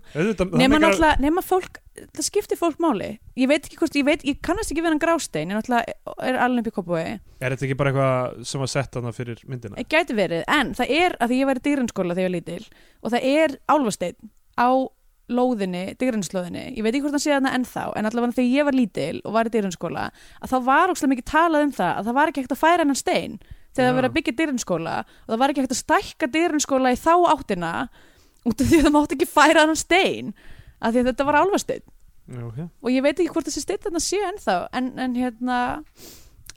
B: nema
C: Auðvitað, það meikar-
B: náttúrulega, nema fólk það skiptir fólk máli, ég veit ekki hvort ég, veit, ég kannast ekki við hann grástein, en náttúrulega er alveg upp í koppuði,
C: er þetta ekki bara eitthvað sem var sett þarna fyrir myndina
B: gæti verið en það er, að því ég var í dýrinskóla þegar ég var lítil og það er álfasteinn á lóðinni, dýrinslóðinni ég veit ekki hvort hann sé þarna ennþá, en allavega þegar ég var lítil og var í dýrinskóla, að þá var ókslega mikið talað um það, að það var ekki hægt að færa hennan stein þegar það
C: Já.
B: var að byggja dýrinskóla og það var ekki hægt að stækka dýrinskóla í þá áttina út af því að það mátt ekki færa hennan stein að því að þetta var álfasteinn
C: Já, ok.
B: og ég veit ekki hvort þessi steinn þarna sé ennþá en, en hérna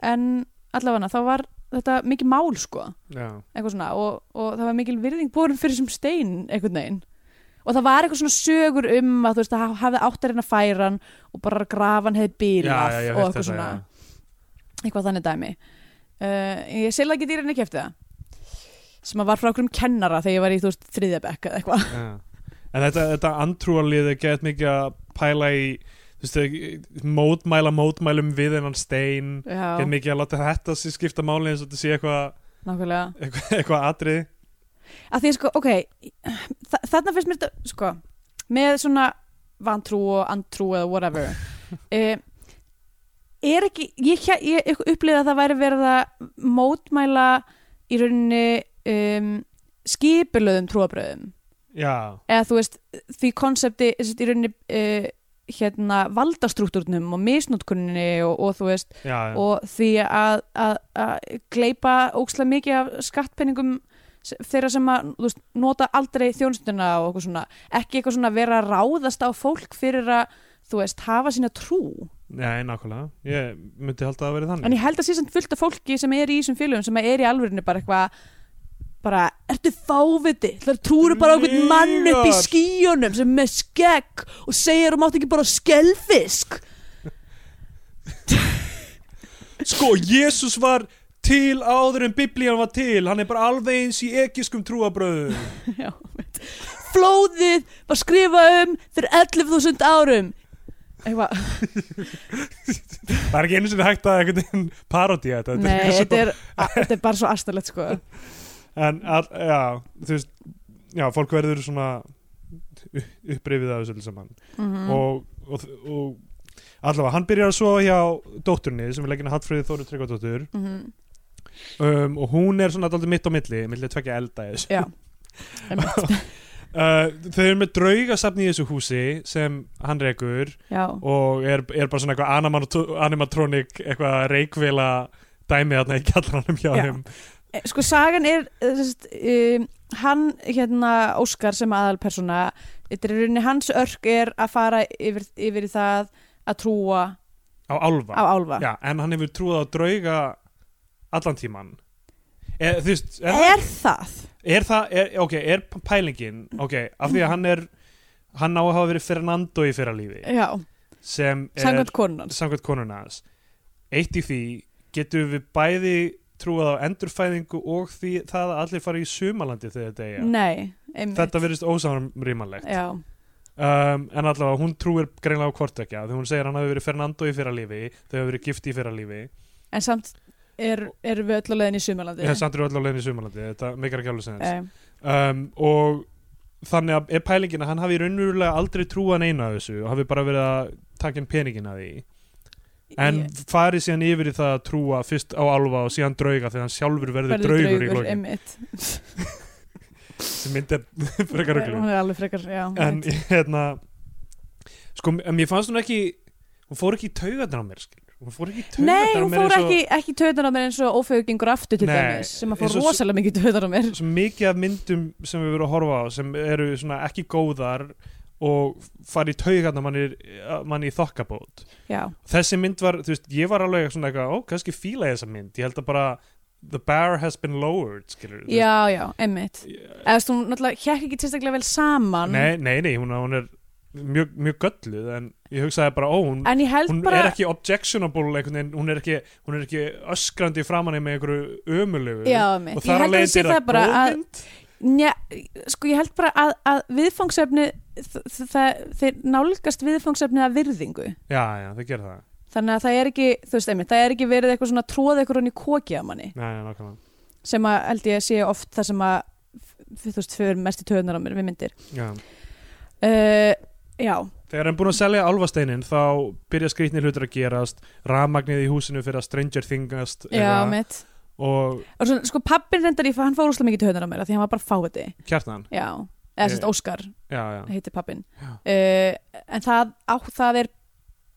B: en allavega þá var þetta mikið mál sko
C: já,
B: eitthvað svona og, og það var mikil virðing borin fyrir þessum stein einhvern veginn og það var eitthvað svona sögur um að þú veist að ha- hafði áttarinn að færa hann og bara grafan hefði bílað
C: já, já,
B: og eitthvað svona eitthvað þannig dæmi uh, ég selða ekki dýrin ekki eftir það sem að var frá okkur um kennara þegar ég var í þú veist þriðjabekk eða eitthvað
C: já. en þetta, þetta antrúarlið er gett mikið að pæla í þú veist, þau mótmæla mótmælum við hennan stein gett
B: já,
C: mikið að láta þetta sig skipta máli eins og þetta sé eitthvað
B: nákvæmlega
C: eitthvað, eitthvað atrið
B: að því sko, ok þa þarna finnst mér þetta, sko með svona vantrú og antrú eða whatever uh, er ekki ég, hjá- ég, ég upplýði að það væri verið að mótmæla í rauninni um, skipulöðum trúabröðum
C: já,
B: eða þú veist, því konsepti sem sagt, í rauninni uh, hérna valdastruktúrnum og misnótkunninni og, og þú veist
C: já, já.
B: og því að, að, að gleipa ókslega mikið af skattpenningum s- þeirra sem að þú veist, nota aldrei þjónstuna og eitthvað svona ekki eitthvað svona vera að ráðast á fólk fyrir að þú veist, hafa sína trú
C: Nei, nákvæmlega, ég myndi halda að það verið þannig
B: en ég held að sé samt fullt af fólki sem er í þessum félögum sem er í alvörinu bara eitthvað bara, ertu fáviti þar trúru bara á einhvern mann upp í
C: Lygar.
B: skíunum sem er með skegg og segir að mátt ekki bara skelfisk
C: Sko, Jésús var til áður en biblían var til hann er bara alveg eins í ekiskum trúabröðum
B: Já, veit. Flóðið var skrifað um fyrir 11.000 árum Eitthvað,
C: Það er ekki einu sinni hægt að einhvern veginn parodía þetta Þetta er
B: nei,
C: eitthvað svo-
B: þetta er, a- þetta er bara svo astalegt sko
C: En, all, já, þú veist Já, fólk verður svona upprifið af þessu öllu saman
B: Mhm, Mm.
C: og, og, og allavega, hann byrjar að sofa hjá dótturni sem er leggina Hallfríði Þóru Tryggvadóttur
B: Mhm.
C: um, og hún er svona daldið mitt á milli milli tvekja elda í þessu
B: Já, einmitt.
C: uh, Þau eru með draugasafni í þessu húsi sem hann rekur
B: já,
C: og er, er bara svona eitthvað animatro- animatronic eitthvað reikvila dæmi þarna í kjallanum hjá
B: Já.
C: þeim
B: E, sko sagan er eh, sem sagt, um, hann hérna Óskar sem aðalpersona þetta er í rauninni hans örk er að fara yfir, yfir í það að trúa
C: á álfa
B: á álfa
C: Já, en hann hefur trúið á drauga allan tíman e, Þú veist, er,
B: Er það?
C: er það er, ok, er pælingin ok, af því að hann er hann á að hafa verið Fernando í fyrra lífi
B: Já,
C: sem er
B: sangvæmt konan
C: samkvæmt konunans eitt í því getum við bæði trúið á endurfæðingu og því það að allir fara í sumalandi þegar þetta eiga
B: Nei, Eh. einmitt
C: þetta verðist ósamrýmanlegt
B: Já,
C: um, en allavega hún trúir greinlega á hvort ekki þegar hún segir að hann hafi verið Fernando í fyrra lífi þau hafi verið gift í fyrra lífi
B: en samt er, erum við öll á leiðin í sumalandi
C: Ég hef samt eru öll á leiðin í sumalandi, þetta meikar ekki alveg sens.
B: Eh,
C: Um, og þannig að er pælingin að hann hafi raunverulega aldrei trúan eina af þessu og hafi bara verið að taka inn peningin að því. En
B: ég-
C: farið síðan yfir í það að trúa fyrst á alva og síðan drauga þegar hann sjálfur verður,
B: verður
C: draugur, í glókin.
B: einmitt.
C: Sem myndi [LAUGHS] er frekar
B: hún
C: röglu.
B: er alveg frekar já,
C: En
B: einmitt.
C: hérna, sko, en mér fannst hún ekki, hún fór ekki í taugarnar á mér, skil. Hún fór ekki í
B: nei,
C: taugarnar á
B: hún
C: mér
B: fór
C: eins og-
B: ekki, ekki töðan á mér eins og ófegur gengur aftur til
C: Nei,
B: dæmis sem að fór
C: eins og-
B: rosalega mikið töðan á mér
C: svo mikið af myndum sem við verum að horfa á sem eru svona ekki góðar og, og fara í taugarna manni, manni í þokkabót
B: já,
C: þessi mynd var, þú veist, ég var alveg svona eitthvað, ó, kannski fíla ég þessa mynd ég held að bara, the bar has been lowered skilur,
B: já, já, einmitt eða þú náttúrulega hjekk ekki tilstaklega vel saman
C: nei, nei, nei, hún, hún er mjög, mjög gölluð, en ég hugsaði bara, ó, hún,
B: en ég held
C: hún
B: bara
C: er ekki objectionable, einhvern veginn, hún er ekki hún er ekki öskrandi framanni með einhverju ömulugu
B: já,
C: og
B: einmitt, ég held að
C: þar að
B: það
C: leiðin
B: sé
C: er
B: það
C: það
B: bara
C: góð
B: að
C: mynd
B: Njá, sko ég held bara að, að viðfangsefni þ- þ- það, þeir nálgast viðfangsefni að virðingu
C: já, já, það gerir það,
B: þannig að það er ekki, þú veist einmitt, það er ekki verið eitthvað svona tróð eitthvað hann í kóki að manni
C: já, já, nákvæmlega
B: sem að held ég sé oft það sem að f- þú veist, fyrir mest í töðunar á mér við myndir
C: já.
B: uh, Já,
C: Þegar hann búin að selja álfasteinin þá byrja skrýtni hlutur að gerast rafmagnið í húsinu fyrir að Stranger Thingast
B: já,
C: eitthvað,
B: mitt
C: og
B: og svona, sko pappin reyndar í, hann fór úslega mikið í töðunar á mér af því hann var bara fáiði,
C: kjartan
B: já eða sérst
C: Eh.
B: Óskar
C: já, já.
B: heitir pappin
C: Já.
B: uh, en það, á, það er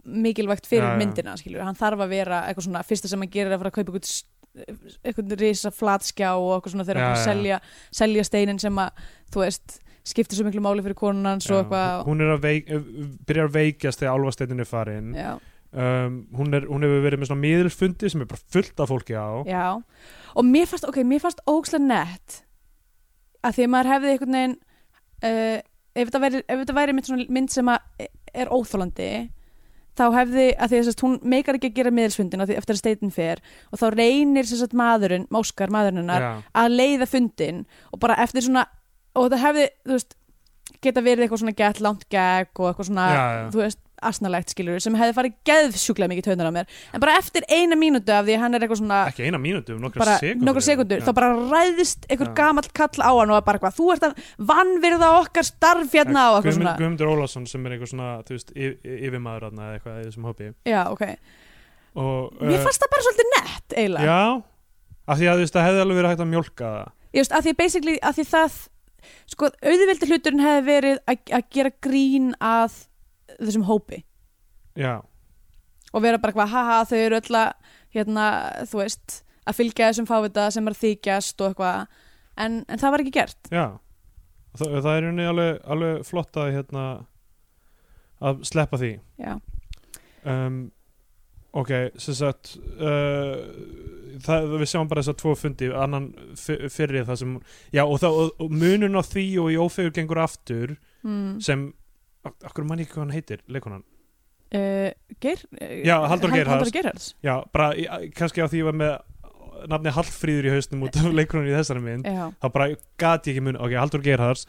B: mikilvægt fyrir
C: Já, já.
B: myndina skilur. hann þarf að vera eitthvað svona fyrsta sem hann gerir er að fara að kaupa eitthvað, s- eitthvað risa flatskjá og eitthvað svona þegar
C: Já,
B: hann fara að
C: já.
B: selja, selja steinin sem að þú veist, skiptir svo miklu máli fyrir konun hans og
C: Já,
B: eitthvað
C: hún er að veik, eh, byrjar að veikjast þegar álfasteitin er farin
B: já,
C: um, hún, er, hún hefur verið með svona miðilfundi sem er bara fullt af fólki á
B: já. og mér fannst, ok, mér fannst ókslega nett að því að maður hefði einhvern veginn uh, ef þetta væri, ef þetta væri mynd, svona mynd sem að er óþólandi þá hefði, að því að sérst, hún meikar ekki að gera miðilsfundin af því eftir að steitin fer og þá reynir sérst, maðurinn, máskar maðurinn hennar
C: Já,
B: að leiða fundin og bara eftir svona og það hefði, þú veist geta verið eitthvað svona gett langt gegg og eitthvað svona,
C: Já, já.
B: þú veist, asnalegt skilur sem hefði farið geðsjúklega mikið tönar á mér en bara eftir eina mínútu af því að hann er eitthvað svona
C: ekki eina mínútu, um nokkra
B: bara
C: sekundur
B: nokkur sekundur,
C: Já.
B: þá bara ræðist einhver
C: Já.
B: gamall kall á hann og bara eitthvað, þú ert að vannvirða okkar starf hérna og eitthvað
C: Guðmund,
B: svona
C: Guðmundur Ólafsson sem er einhver svona þú veist, yf- yfirmaður þarna eða eitthvað í þessum hópi
B: já, ok,
C: og,
B: mér fannst það bara svolítið nett eiginlega
C: Eh. Já, af því að þú veist, það hefði alveg verið hægt að mjólka það
B: ég veist, að því basically, að því það sko, auðveldi hluturinn hefði verið að, að gera grín að þessum hópi
C: Já,
B: og vera bara eitthvað, haha, þau eru öll að hérna, þú veist, að fylgja þessum fávita sem er að þykjast og eitthvað en, en það var ekki gert
C: já Þa, Það er unni alveg, alveg flott að hérna að sleppa því
B: já,
C: um, ok, sem sagt uh, það, við sjáum bara þess að tvo fundi annan fy- fyrri það sem já, og, það, og, og munun á því og í ófegur gengur aftur
B: mm.
C: sem, ak- akkur mann ég ekki hvað hann heitir leikonan,
B: uh, Geir eh,
C: Já, Halldór
B: Hal-
C: Geirharðs.
B: Halldór Geirharðs.
C: já, bara í- kannski á því ég var með nafni Hallfríður í hausnum út af leikonan í þessari mynd
B: já,
C: þá bara gat ég ekki mun, ok, Haldur Geirhars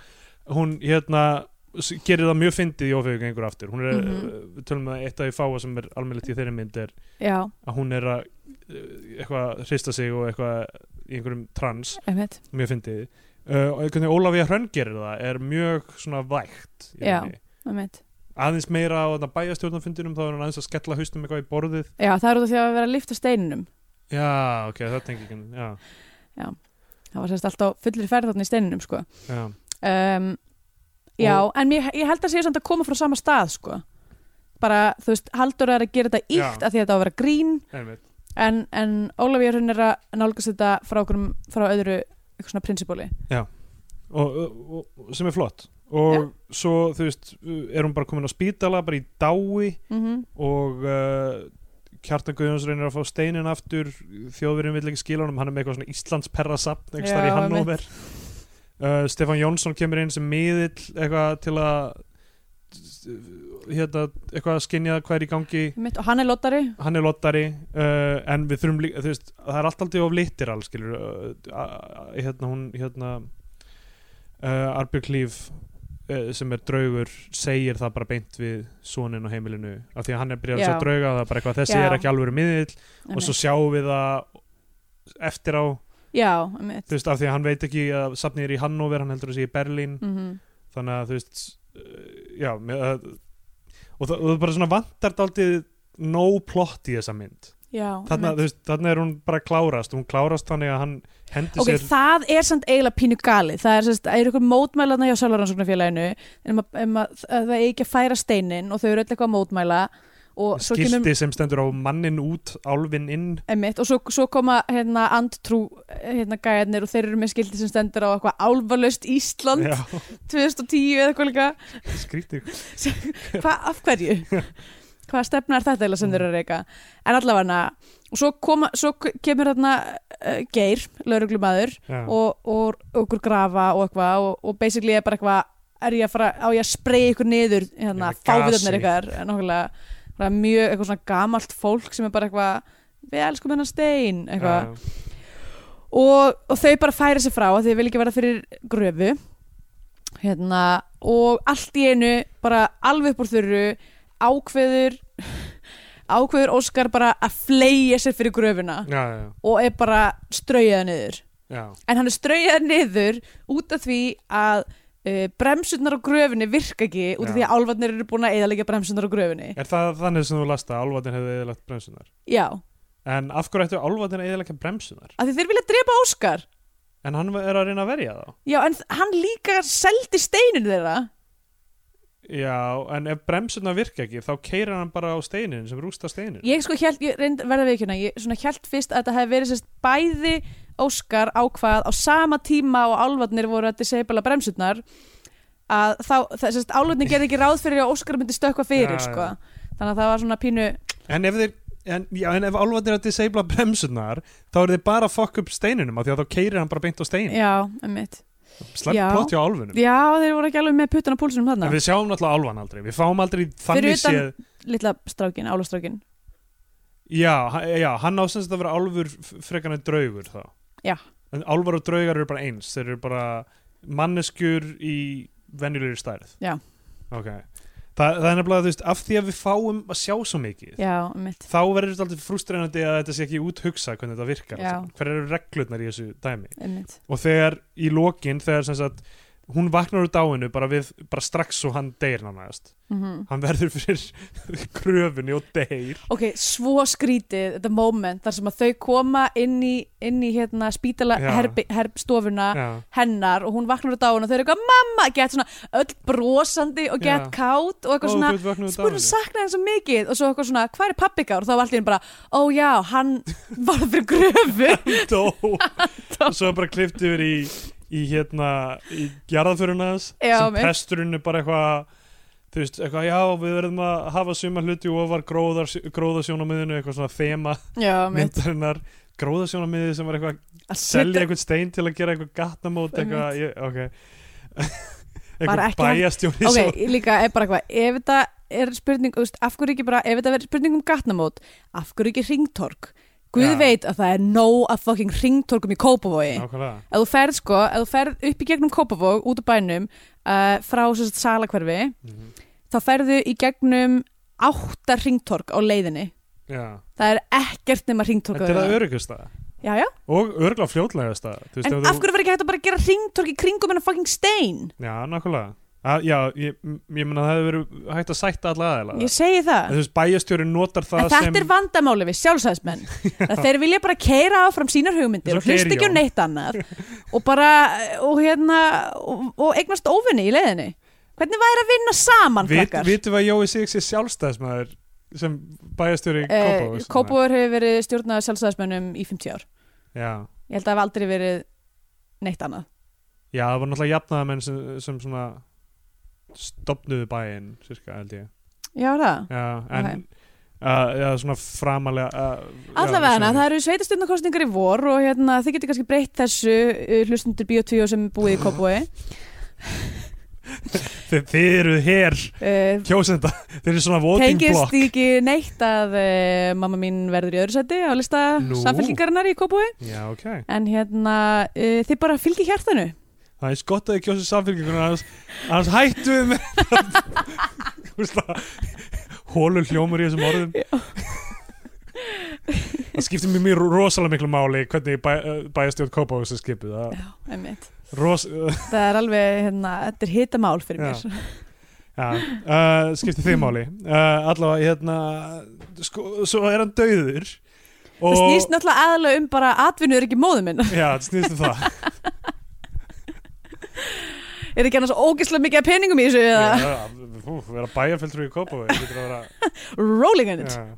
C: hún hérna s- gerir það mjög fyndið í ófegur gengur aftur hún er, mm
B: Mhm.
C: tölum við að eitt af því fáa sem er almennilegt í þeirri mynd er
B: já,
C: að hún er að uh, eitthvað hrista sig og eitthvað í einhverjum trans,
B: einmitt
C: mjög fyndið uh, og einhvern veginn Ólafía Hrönn gerir það er mjög svona vægt í
B: Já.
C: rauninni.
B: einmitt
C: aðeins meira á þarna bæjastjórnarfundinum þá er hún aðeins að skella haustum eitthvað í borðið
B: já, það er út af því að vera að lifta steininum
C: já, ok, það tengi ekki já,
B: það var sérst alltaf fullir ferð þarna í steininum sko.
C: já,
B: um, já, en ég, ég held að sé samt að koma frá sama stað sko. bara, þú veist, Halldór er að gera þetta
C: Já.
B: íkt af því að þetta á að vera grín
C: einmitt
B: en, en Ólafíur hún er að nálgast þetta frá, okkur, frá öðru eitthvað svona prinsipóli
C: og, og, og sem er flott og svo, þú veist, er hún bara komin á spítala bara í dái
B: mm -hmm.
C: og uh, Kjartan Guðjóns reynir að fá steinin aftur þjóðverjum vill ekki skila honum, hann er með eitthvað svona Íslandsperra sapn, einhvers þar
B: Já,
C: í Hannover uh, Stefán Jónsson kemur inn sem miðill eitthvað til að hérna, eitthvað að skinja hvað er í gangi
B: og hann er lotari
C: hann er lottari uh, en við þurfum líka, þú veist, það er allt aldrei of litir alls, skilur uh, hérna hún, hérna uh, Arbjörg Líf uh, sem er draugur, segir það bara beint við sonin á heimilinu af því að hann er byrjað að
B: Já.
C: sjá drauga, það er bara eitthvað þessi
B: Já.
C: er ekki alvöru miðill og svo sjáum við það eftir á,
B: já, einmitt
C: þú veist, af því að hann veit ekki að safnið er í Hannover, hann heldur að sé í Berlín
B: mm
C: þannig að þú veist uh, já, með, uh, og það og það bara svona vantar daldið no plot í þessa mynd
B: já,
C: þarna,
B: einmitt.
C: þú veist, þarna er hún bara að klárast hún klárast þannig að hann hendi
B: Ok,
C: sér
B: það er samt eiginlega pínu gali það er, sérst, er ykkur mótmælaðna hjá sjálfaransóknarfélaginu um að, um að, að það eigi ekki að færa steinin og þau eru öll eitthvað að mótmæla og svo
C: skilti
B: kynum
C: sem stendur á mannin út, álfin inn
B: Einmitt, og svo, svo koma hérna, andtrú hérna, gæðarnir og þeir eru með skildi sem stendur á eitthvað álfalaust Ísland
C: Já, [LAUGHS]
B: 2010 eða eitthvað líka
C: skrítið
B: Hva, af hverju?
C: [LAUGHS]
B: Hvaða stefna er þetta eiginlega sem þeir eru að reyka? En allavega, og svo, koma, svo kemur þarna uh, Geir, lauruglumæður
C: Já.
B: og, og okkur grafa og eitthvað og, og basically er bara eitthvað er ég að fara, á ég að spreja ykkur niður hérna,
C: Með
B: fáviðarnir
C: gasi.
B: ykkar nákvæmlega, bara mjög eitthvað svona gamalt fólk sem er bara eitthvað við elskum hennar stein eitthvað
C: Já,
B: og, og þau bara færa sig frá af því þau vil ekki vera fyrir gröfu hérna, og allt í einu bara alveg upp úr þurru ákveður ákveður Óskar bara að fleia sér fyrir gröfuna
C: já, já,
B: og er bara straujaða niður
C: já,
B: en hann er straujaða niður út af því að uh, bremsurnar á gröfunni virka ekki út af
C: Já.
B: því að álfarnir eru búin að eðalega bremsurnar á gröfunni
C: Er það þannig sem þú lasta að álfatin hefði eðilagt bremsunar?
B: já, af
C: En af hverju ættu álfatin að eðilega bremsunar?
B: því þeir vilja drepa Óskar
C: En hann er að reyna að verja þá
B: já, en hann líka seldi steininu þeirra
C: Já, en ef bremsunar virka ekki þá keirir hann bara á steinin sem rústa steinin
B: Ég sko hjælt, ég reynd verða við ekki hérna, ég svona hjælt fyrst að þetta hefði verið sérst bæði Óskar ákvað á sama tíma og álvarnir voru að disabla bremsurnar að þá, það sérst álvarnir gerði ekki ráð fyrir að Óskar myndi stökkva fyrir,
C: Já,
B: sko. Þannig að það var svona pínu,
C: En ef þeir En, já, en ef álfatin er að disabla bremsunar þá eru þeir bara að fokk upp steininum af því að þá keirir hann bara beint á steinin
B: já, emmitt.
C: Slepp
B: já.
C: plott hjá álfunum
B: Já, þeir voru ekki alveg með puttan á púlsunum
C: En
B: þarna.
C: við sjáum náttúrulega álfan aldrei Við fáum aldrei þannig
B: utan-
C: séð
B: Lilla strákin, álastrákin.
C: Já, ha- já, hann ásins að vera álfur f- frekar en draugur þá
B: Já.
C: En álfar og draugar eru bara eins Þeir eru bara manneskjur í venjulegri stærð
B: Já.
C: Ok Þa, Það er nefnilega, þú veist, af því að við fáum að sjá svo mikið
B: Já, emmitt.
C: Þá verður þetta aldrei frústrænandi að þetta sé ekki úthugsa hvernig þetta virkar
B: Já.
C: Hver eru reglurnar í þessu dæmi
B: Emmitt.
C: Og þegar í lokin, þegar sem sagt Hún vaknar úr dáinu bara, við, bara strax og hann deyr nánægast
B: Mm
C: Hann verður fyrir [LAUGHS] kröfunni og deyr
B: Ok, svo skrítið þetta moment þar sem að þau koma inn í, inn í hérna spítala
C: Já.
B: herbi, herstofuna
C: Já,
B: hennar og hún vaknar á dáin og þau eru eitthvað mamma, gett svona öll brosandi og gett
C: Já.
B: kátt og eitthvað svona
C: Ó, þú ert vaknaður úr
B: spurðu
C: dáinu.
B: sakna henn svo mikið og svo eitthvað svona, hvað er pappi gár? Og þá var allir bara, ó já, hann var fyrir gröfu
C: [LAUGHS] dó
B: [LAUGHS]
C: og svo er bara klift yfir í, í hérna, í jarðaföruna hans
B: Já,
C: sem
B: mitt.
C: presturinn er bara eitthvað þú veist, eitthvað, já, við verðum að hafa suma hluti og var gróðar, gróðarsjónamiðinu eitthvað svona þema
B: Já, mitt
C: myndarinnar gróðarsjónamiði sem var eitthvað að
B: Að
C: selja
B: setja-
C: eitthvað stein til að gera eitthvað gattamót
B: Einmitt.
C: eitthvað, ég, ok [LAUGHS]
B: Bara
C: eitthvað
B: ekki hægt-
C: bæjastjóni
B: Ok,
C: sem-
B: líka er bara eitthvað, ef þetta er spurning, þú veist, af hverju ekki bara, ef þetta verður spurning um gatnamót, af hverju ekki ringtork? Guð
C: Já.
B: veit að það er nóg af fucking ringtorkum í Kópavogi.
C: Nákvæmlega.
B: Ef þú ferð sko, ef þú ferð upp í gegnum Kópavog, út á bænum, uh, frá sérst salakverfi,
C: Mhm.
B: þá ferðu í gegnum átta ringtork á leiðinni.
C: Já.
B: Það er ekkert nema ringtork.
C: þetta er það öryggasta
B: Já, já.
C: og örgla fljótlegasta þú veist,
B: En
C: ef
B: af
C: þú-
B: hverju verður ekki hægt að bara gera ringtork í kringum en að fucking stein?
C: Já, nákvæmlega að, Já, ég, m- ég meina það hefur verið hægt að sætta alla aðeila
B: Ég segi það.
C: Þú veist, bæjastjóri notar það
B: en þetta
C: sem
B: er vandamáli við
C: [LAUGHS]
B: sjálfsæðismenn að þeir vilja bara keira áfram sínar hugmyndir
C: Eins og
B: og hlusta ekki á
C: Geirjón.
B: neitt annað og bara, og hérna og, og eignast óvinni í leiðinni hvernig væri að vinna saman,
C: Vit-
B: krakkar?
C: Vitum við að Jói Sigs er sjálfstæðismæður sem bæjastjóri
B: Eh,
C: Kópavóks
B: Kópavur hefur verið stjórnað af sjálfsæðismennum í 50 ár
C: Já,
B: ég held að það hafi aldrei verið neitt annað
C: já það var náttúrulega jafnaðamenn sem, sem svona stopnuðu bæinn, sérska, held ég
B: já, er það
C: Já, en okay. Já, svona framalega uh,
B: Allavega hana, það eru sveitastjórnarkostningar í vor og hérna, þið getur kannski breytt þessu uh, hlustundur Bíotvíó sem er búið í Kópavói
C: Þi, Þið eruð hér
B: uh,
C: kjósenda [LAUGHS] Þið eru svona voting
B: tengist
C: block
B: því ekki neitt að uh, mamma mín verður í öðru sæti á lista
C: Nú.
B: samfélkingarinnar í Kópúi
C: Já, ok
B: en hérna, uh, þið bara fylgi hjartanu
C: Það er eins gott að þið kjósið samfélgjörnum annars, annars hættu við með Þú veist það [LAUGHS] Hólur hljómur í þessum orðum Það skiptir mér mjög rosalega miklu máli hvernig bæ, eh, bæjastjóð Kópa þessu skipið það,
B: Já, einmitt.
C: ros, [LAUGHS] uh,
B: það er alveg, hérna, þetta er hitamál fyrir
C: Já.
B: mér
C: ja, uh, skiptir þið máli uh, allavega hérna sko, svo er hann döður
B: það snýst náttúrulega aðalega um bara atvinnur ekki móðu minn,
C: Já, það snýst um
B: [LAUGHS]
C: það
B: er ekki annars ógeðslega mikið af peningum í þessu eða
C: Já, Þú, vera bæjarfjöldru í Kópa getur að vera
B: Rolling in it
C: Já.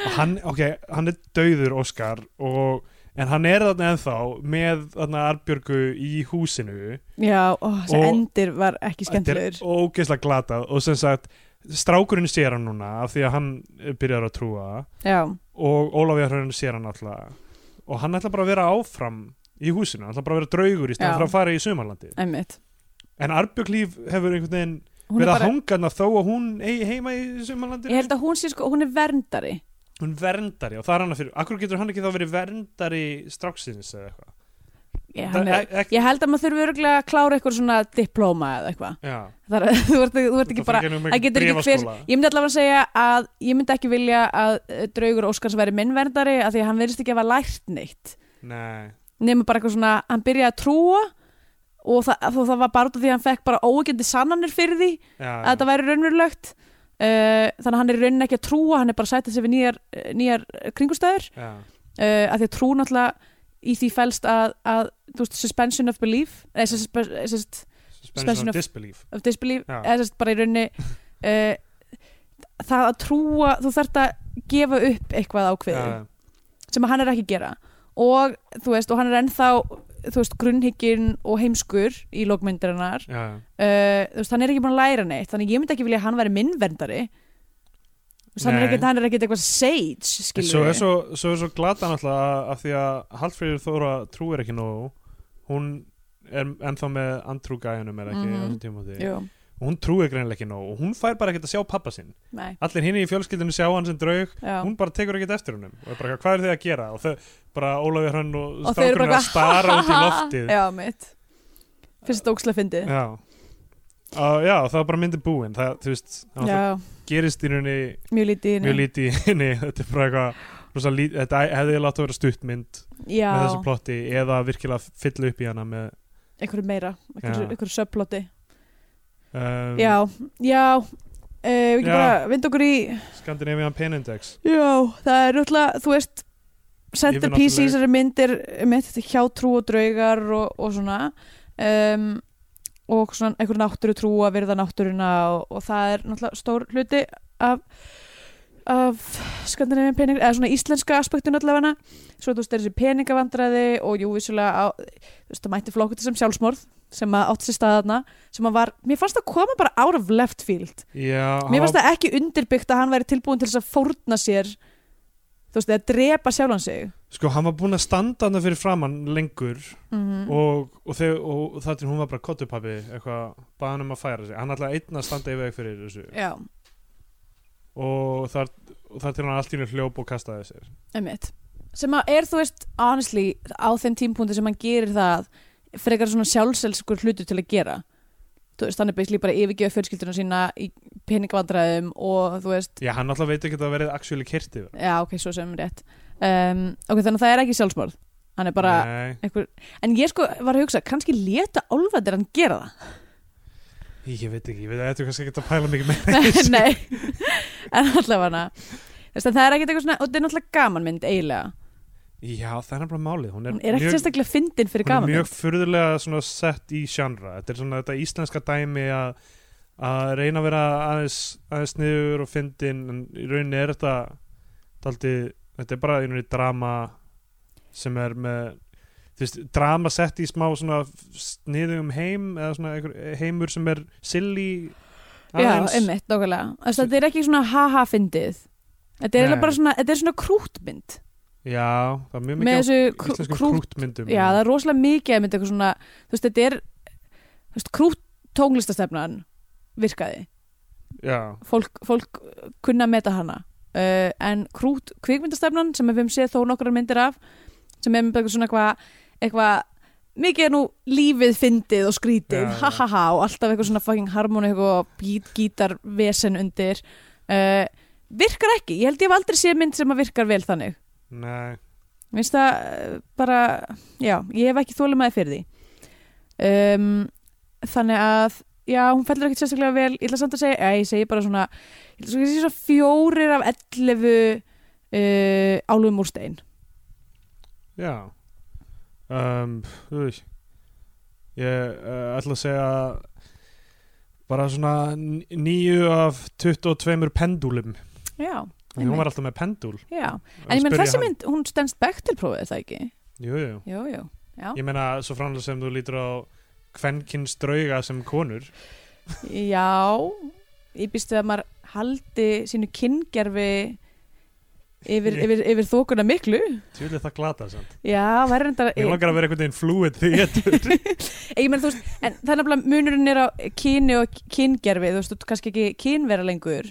C: Og hann, ok, hann er dauður Óskar og, en hann er þarna ennþá með þarna Arbjörgu í húsinu
B: Já, ó, þessi
C: Og-
B: endir var ekki skemmtilegur
C: Þetta er ógeðslega glatað og sem sagt, strákurinn sér hann núna af því að hann eh, byrjar að trúa
B: Já,
C: og Ólafja Hrönn sér hann alltaf og hann ætla bara að vera áfram í húsinu, hann ætla bara að vera draugur í
B: Já.
C: stæðan fyrir að fara í sumarlandi.
B: einmitt
C: En Arbjörg líf hefur einhvern veginn
B: Hún er
C: verið að
B: bara,
C: hanga hann þó að hún eigi heima í sumarlandi
B: ég held að hún sé sko, hún er verndari
C: hún verndari og það er hann að fyrir akkur getur hann ekki þá verið verndari stráksins eða eitthvað
B: ég, hann
C: Það-
B: er,
C: ek- ek-
B: ég held að maður þurfi örgulega að klára eitthvað svona diplóma eða eitthvað
C: já,
B: Það er, [LAUGHS] þú ert, þú ert
C: þetta
B: ekki
C: fer
B: bara
C: gegnum
B: það getur ekki hver,
C: bréfaskóla.
B: ég myndi allavega að segja að ég myndi ekki vilja að eh, draugur Óskars væri minn verndari af því að hann verðist ekki að hafa lært neitt
C: Nei,
B: nema bara eitthvað svona, hann byrjaði að trúa og það, þó það var bara út af því að hann fekk bara óegjandi sannanir fyrir því
C: já,
B: að þetta væri raunverulegt uh, þannig að hann er í rauninni ekki að trúa hann er bara að sæta sig við nýjar, eh, nýjar kringustæður
C: já,
B: uh, að því að trú náttúrulega í því fælst að, að þú veist, suspension of belief eða suspe- eh, sem sagt, Suspension
C: suspension
B: of-
C: of disbelief
B: of disbelief
C: Já.
B: eða sérst bara í
C: [LAUGHS]
B: rauninni uh, það að trúa þú þarft að gefa upp eitthvað ákveðið
C: Já,
B: sem að hann er ekki að gera og þú veist, og hann er ennþá þú veist, grunnhygginn og heimskur í lókmyndarinnar
C: já,
B: uh, þú veist, hann er ekki búin að læra neitt þannig að ég myndi ekki vilja að hann væri minnverndari þú veist, hann er
C: Nei.
B: ekkit, hann er ekkit eitthvað sage,
C: En
B: skilur
C: svo er svo, svo, er svo glata náttúrulega af því að Hallfríður Þóra trúir ekki nóg hún er ennþá með andrú gæjanum er ekki
B: Mhm.
C: á þessum tímapunkti.
B: Jú,
C: og hún trúir greinilega ekki nóg og hún fær bara ekkert að sjá pappa sinn
B: nei,
C: allir hinn í fjölskyldinu sjá hann sem draug
B: já
C: hún bara tekur ekkert eftir húnum og er bara, hvað eru þið að gera og þau, bara Ólafi Hrönn og
B: Og þau eru
C: strákurinn
B: bara
C: að stara út í
B: [LAUGHS]
C: loftið
B: Já, mitt Fyrst ókslega fyndið
C: já, Á, já það var bara myndi búin það, þú veist, það náttúrulega
B: Já,
C: gerist í rauninni
B: mjög lítið í henni.
C: mjög lítið í henni [LAUGHS] þetta er bara eitthvað rosa lít- þetta hefði látt að vera stuttmynd
B: Já,
C: með þessu plotti eða virkilega fylla upp í hana með
B: einhverju meira, einhverju,
C: Já.
B: einhverju subploti
C: um,
B: Já, já uh, Við ekki
C: Já.
B: bara vind okkur í
C: Scandinavian Pen Index
B: Já, það er náttúrulega, þú veist Center PC,
C: Yfirnáttúruleg.
B: þessari myndir mitt, hjá trú og draugar og, og svona um, og svona einhverju náttúru trú að virða náttúruna og, og það er náttúrulega stór hluti af af skandinavíum peningar eða svona íslenska aspektun allavega svo þú veist er þessi peningavandræði og jú vissulega á, þú veist það mætti flokku til sem sjálfsmorð sem að átt sér staðarna sem að var, mér fannst það koma bara out of left field
C: já,
B: Mér
C: hann
B: fannst það ekki undirbyggt að hann væri tilbúin til þess að fórna sér þú veist, eða drepa sjálfan sig
C: sko hann var búin að standa hann fyrir framann lengur
B: mm
C: og, og, þau, og það til hún var bara kottupappi eitthvað, baða hann um að færa sig hann ætlaði einn að standa yfir fyrir þessu
B: Já,
C: og þar, og þar til hann allt í henni hljóp og kastaði sér
B: einmitt sem að er, þú veist, honestly á þeim tímpúndi sem hann gerir það frekar svona sjálfselskur hlutu til að gera þú veist, hann er basically bara að yfirgefa fjölskylduna sína í peningvandræðum og þú veist,
C: já, hann alltaf veit ekki að það verið actually kyrt yfir
B: já, ok, svo sem rétt um, ok, þannig að það er ekki sjálfsmorð hann er bara,
C: Nei,
B: einhver, en ég sko var að hugsa, kannski leta álfadir hann gera það
C: ég veit ekki, ég veit að þetta er kannski ekki að pæla mikið með [LAUGHS]
B: Nei, en allavega Þess að það er ekkert eitthvað svona, og þetta er náttúrulega gamanmynd eiginlega,
C: já, það er bara málið hún er,
B: hún er ekkert
C: mjög,
B: sérstaklega fyndin fyrir
C: hún er
B: gamanmynd
C: mjög furðulega svona sett í sjandra þetta er svona þetta íslenska dæmi að að reyna að vera aðeins aðeins niður og fyndin en í rauninni er þetta daldi, þetta er bara í rauninni drama sem er með þú veist, drama sett í smá svona sniðum heim eða svona einhver, heimur sem er silly
B: Já,
C: aðeins.
B: einmitt, nákvæmlega Þess að þetta er ekki svona ha-ha fyndið Þetta er
C: Nei.
B: eiginlega bara svona, þetta er svona krútmynd
C: Já, það er mjög
B: Með
C: mikið
B: þessu
C: af
B: krú-
C: íslenskum
B: krú-
C: krútmyndum
B: Já, það er rosalega mikið að mynda eitthvað svona, þú veist, þetta er þú veist, krút tónlistastefnan virkaði,
C: Já,
B: fólk, fólk kunna að meta hana uh, en krút kvikmyndastefnan sem við höfum séð þó nokkrar myndir af sem er með eitthvað svona eitthvað eitthvað mikið er nú lífið fyndið og skrítið,
C: Já, já.
B: ha ha ha og alltaf eitthvað svona fucking harmoník og gít, gítar vesen undir uh, virkar ekki, ég held ég hef aldrei séð mynd sem að virkar vel þannig
C: nei
B: minnst það eh, bara já, ég hef ekki þólimaði fyrir því um, þannig að já, hún fellur ekkert sérstaklega vel ég ætla samt að segja, já, ég segi bara svona ég ætla svo að segja svona fjórir af 11 uh, álum úr stein
C: Já um, Þú veist Ég uh, ætla að segja bara svona n- níu af 22 pendúlum
B: já,
C: Því Hún var alltaf með pendúl
B: já.
C: Að
B: En ég menn
C: spyrja
B: þessi
C: hann.
B: mynd, hún stendst Bechtelprófið, er það ekki?
C: Jú, jú,
B: Jú, jú, já.
C: ég meina svo framlega sem þú lítur á kvenkins drauga sem konur
B: Já, ég býst við að maður haldi sínu kynngerfi yfir,
C: Ég-
B: yfir, yfir þókuna miklu.
C: Tjúlið það glata samt
B: Já, verður þetta...
C: Ég langar að vera einhvern veginn fluid því
B: [LAUGHS]
C: ég
B: Ég menn, þú veist, en það er nefnilega munurinn er á kyni og kynngerfi, þú veist, þú ert kannski ekki kynvera lengur,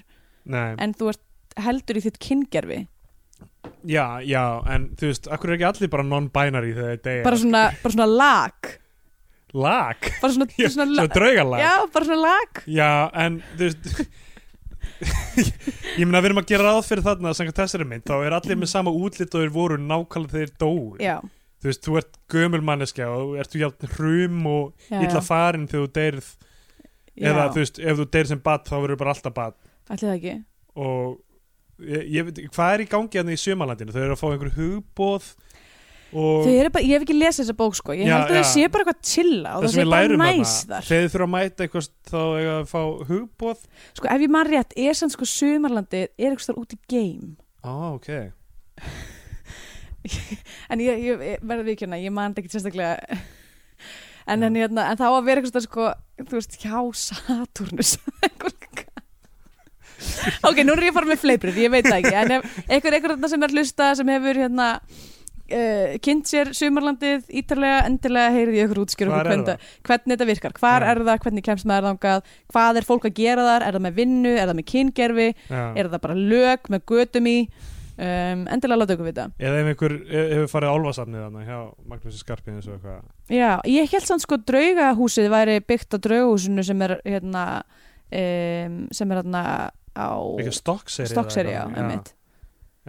C: Nei,
B: en þú ert heldur í þitt kynngerfi.
C: já, já, en þú veist, akkur er ekki allir bara non-binary þegar þeir deyja
B: Bara svona, bara svona lag.
C: Lag,
B: Bara svona,
C: Já,
B: svona,
C: svo draugalag
B: Já, bara svona lag.
C: Já, en þú veist [LAUGHS] Ég meina við erum að gera ráð fyrir þarna samkvæmt þessari mynd, þá er allir með sama útlit og þeir voru nákvæmlega þegar þeir dóu
B: Já,
C: Þú veist, þú ert gömul manneskja og ert þú hjátt hrum og
B: já,
C: illa farin þegar þú deyrð eða
B: já.
C: þú veist, ef þú deyrð sem bat þá verður bara alltaf bat
B: Ætli það ekki.
C: og ég, ég veit, ekki, hvað er í gangi hann í sömalandinu? Þau eru að fá einhver hugbóð og
B: Þau eru bara, ég hef ekki lesið þessa bók sko, ég
C: Já,
B: held að þau
C: já.
B: sé bara eitthvað chilla og það sé bara næs
C: þarna,
B: þar.
C: þegar þau þurfa að mæta eitthvað þá eiga að fá hugbóð
B: Sko ef ég man rétt, er sann sko sumarlandið er eitthvað þar út í geim.
C: Á, ok
B: En ég, ég, ég verði viðkjörna, ég man þetta ekki sérstaklega. [LAUGHS] En, en, hérna, en það á að vera eitthvað sko, þú veist, hjá Saturnus. [LAUGHS] ok, nú er ég farin með fleiprið, ég veit það ekki. En ef einhver einhver þarna sem er að hlusta, sem hefur hérna, uh, kynnt sér sumarlandið ítarlega, endilega heyrið ég ykkur útskýra
C: Hvar
B: okkur
C: er
B: hvernig, hvernig þetta virkar. Hvar
C: Já.
B: er það, hvernig kemst maður þangað, hvað er fólk að gera þar, er það með vinnu, er það með kyngerfi,
C: Já.
B: er það bara lög með götum í um, endilega láta okkur vita
C: Eða ef einhver e- hefur farið á álfasafnið þarna hjá Magnúsi Skarpinus og eitthvað
B: já, ég held samt sko draugahúsið væri byggt á draugahúsinu sem er hérna um, sem er hérna á
C: Eitthvað stokkseri
B: Stokkseri, já, einmitt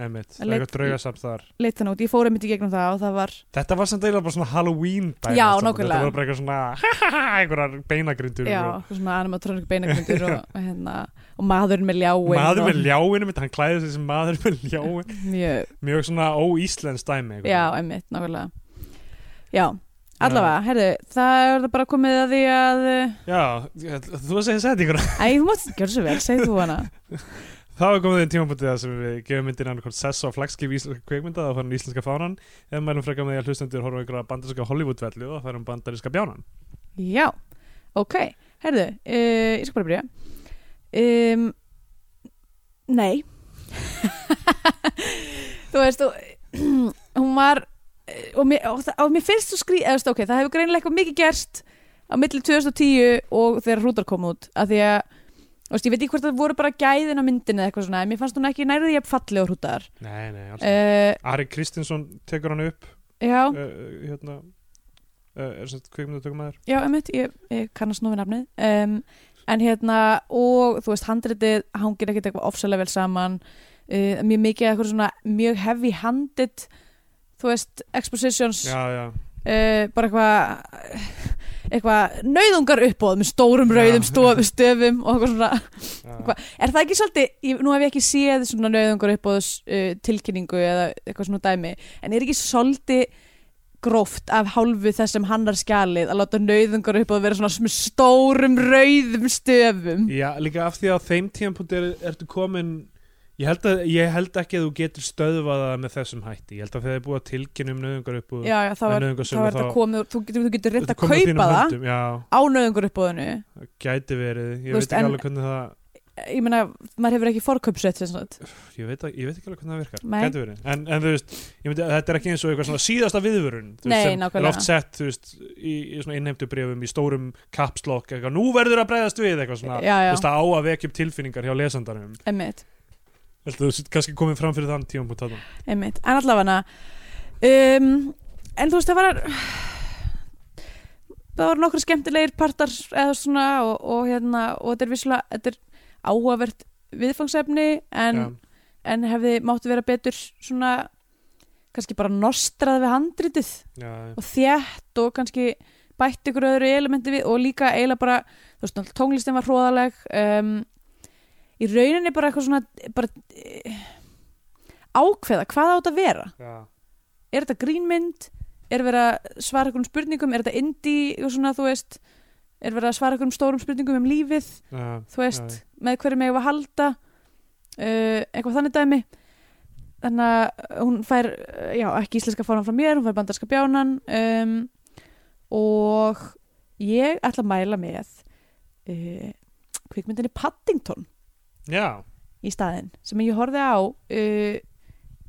C: Einmitt, það
B: Að
C: er
B: leit-
C: eitthvað draugasafn þar
B: leitt þannig út, ég fór einmitt í gegnum það og það var
C: Þetta var sem dæla bara svona Halloween dæmi
B: Já,
C: samt.
B: nákvæmlega.
C: Þetta voru bara eitthvað svona [LAUGHS] einhverjar beinagrindur
B: já,
C: og
B: eitthvað svona animatronik beinagmyndur og, og hérna, og maðurinn með ljáin
C: Maður
B: og,
C: með ljáinu mitt, hann klæði sig sem maður með ljáinu
B: mjög,
C: Mjög svona óíslensk dæmi
B: já, einmitt, nákvæmlega já, allavega, herðu það er það bara komið að því að
C: já ég- þú að segja settinguna
B: æ, þú mátt gjörðu svo vel, segðu þú hana
C: [LAUGHS] Þá er komið þeim tímabútið það sem við gefum myndin annarkort sessa og flagskip íslenska kveikmynda þá færum íslenska fánan eða mælum frekar með því að hlustendur horfa á einhverja bandarinska Hollywood-vellu og þá færum bandarinska bjánan
B: Já, ok, herðu, uh, ég skal bara byrja um, Nei [LAUGHS] Þú veist, þú, [CLEARS THROAT] hún var eh, og mér, og, það- og mér finnst þú skrý eða, þú veist, ok, það hefur greinilega eitthvað mikið gerst á milli 2010 og þegar hrútar kom út af því að, þú veist, ég veit ekki hvort það voru bara gæðin á myndinni eða eitthvað svona en mér fannst hún ekki nærðið ég falli á hrútar
C: Nei, nei, alls uh,
B: uh,
C: Ari Kristinsson tekur hann upp
B: Eh, Já,
C: uh, hérna uh, er sem kveikmyndatökum aður
B: Já, einmitt, ég, ég kannast nú við nafnið um, En hérna, og þú veist, handritið hangir ekkert eitthvað ofsalega vel saman uh, Mjög mikið eitthvað svona mjög heavy handed Þú veist, expositions uh,
C: Já, já,
B: Bara eitthvað eitthvað nauðungar uppbóð með stórum rauðum
C: Já.
B: stof, stöfum og eitthvað svona
C: já.
B: Hva- Er það ekki svolítið, ég, nú hef ég ekki séð svona nauðungar uppbóðs uh, tilkynningu eða eitthvað svona dæmi, en er ekki svolítið gróft af hálfu þess sem hann er skjalið að láta nauðungar uppbóð vera svona með stórum rauðum stöfum?
C: já, líka af því að á þeim tímabútið er, ertu komin ég held, að, ég held ekki að þú getur stöðvað það með þessum hætti ég held að þegar þið er búið að tilkynna um nöðungar upp
B: Já, já, þá
C: Það er
B: er,
C: nauðungarsölu,
B: þá er þetta
C: þá-
B: komið, þú getur, þú getur reynd að kaupa það
C: Já,
B: á nauðungar uppbóðinu.
C: gæti verið,
B: Þú
C: ég
B: veist,
C: veit ekki
B: en-
C: alveg hvernig það
B: Ég meina, maður hefur ekki forkaupsett sem sagt.
C: ég veit, að, ég veit ekki alveg hvernig það virkar
B: Nei.
C: Gæti verið. en, en þú veist, ég myndi, að þetta er ekki eins og eitthvað svona síðasta viðvörun þú
B: Nei,
C: veist, sem
B: nákvæmlega.
C: er oft sett þú veist, í, í svona innheimtubrifum í stórum kapslokk, eitthvað, nú verður að bregðast við eitthvað svona,
B: Já, já.
C: þú veist, það á að vekja upp tilfinningar hjá lesandarum,
B: Emmitt,
C: Ætli, þú veist, kannski komið fram fyrir þann tíum punkt þarna
B: emmitt. En allavega um, en þú veist, það var það var nokkur skemmtilegir partar eða svona og, og hérna og þetta er visslega, þetta er áhugavert viðfangsefni en, en hefði máttu vera betur svona kannski bara nostrað við handritið
C: já, já,
B: og þétt og kannski bætt ykkur öðru elementi við og líka eiginlega bara, þú veist, náttúrulega tónlistin var hróðaleg um, í rauninni bara eitthvað svona bara, eh, ákveða, hvað á þetta að vera
C: já,
B: er þetta grínmynd er verið að svara einhverjum spurningum er þetta indie, eitthvað svona, þú veist er verið að svara einhverjum stórum spurningum um lífið
C: já,
B: þú veist, með hverju megum við að halda uh, eitthvað þannig dæmi þannig að hún fær uh, já, ekki íslenska fánan frá mér, hún fær bandarska bjánan um, og ég ætla að mæla með uh, kvikmyndinni Paddington
C: Já,
B: í staðinn sem ég horfði á uh,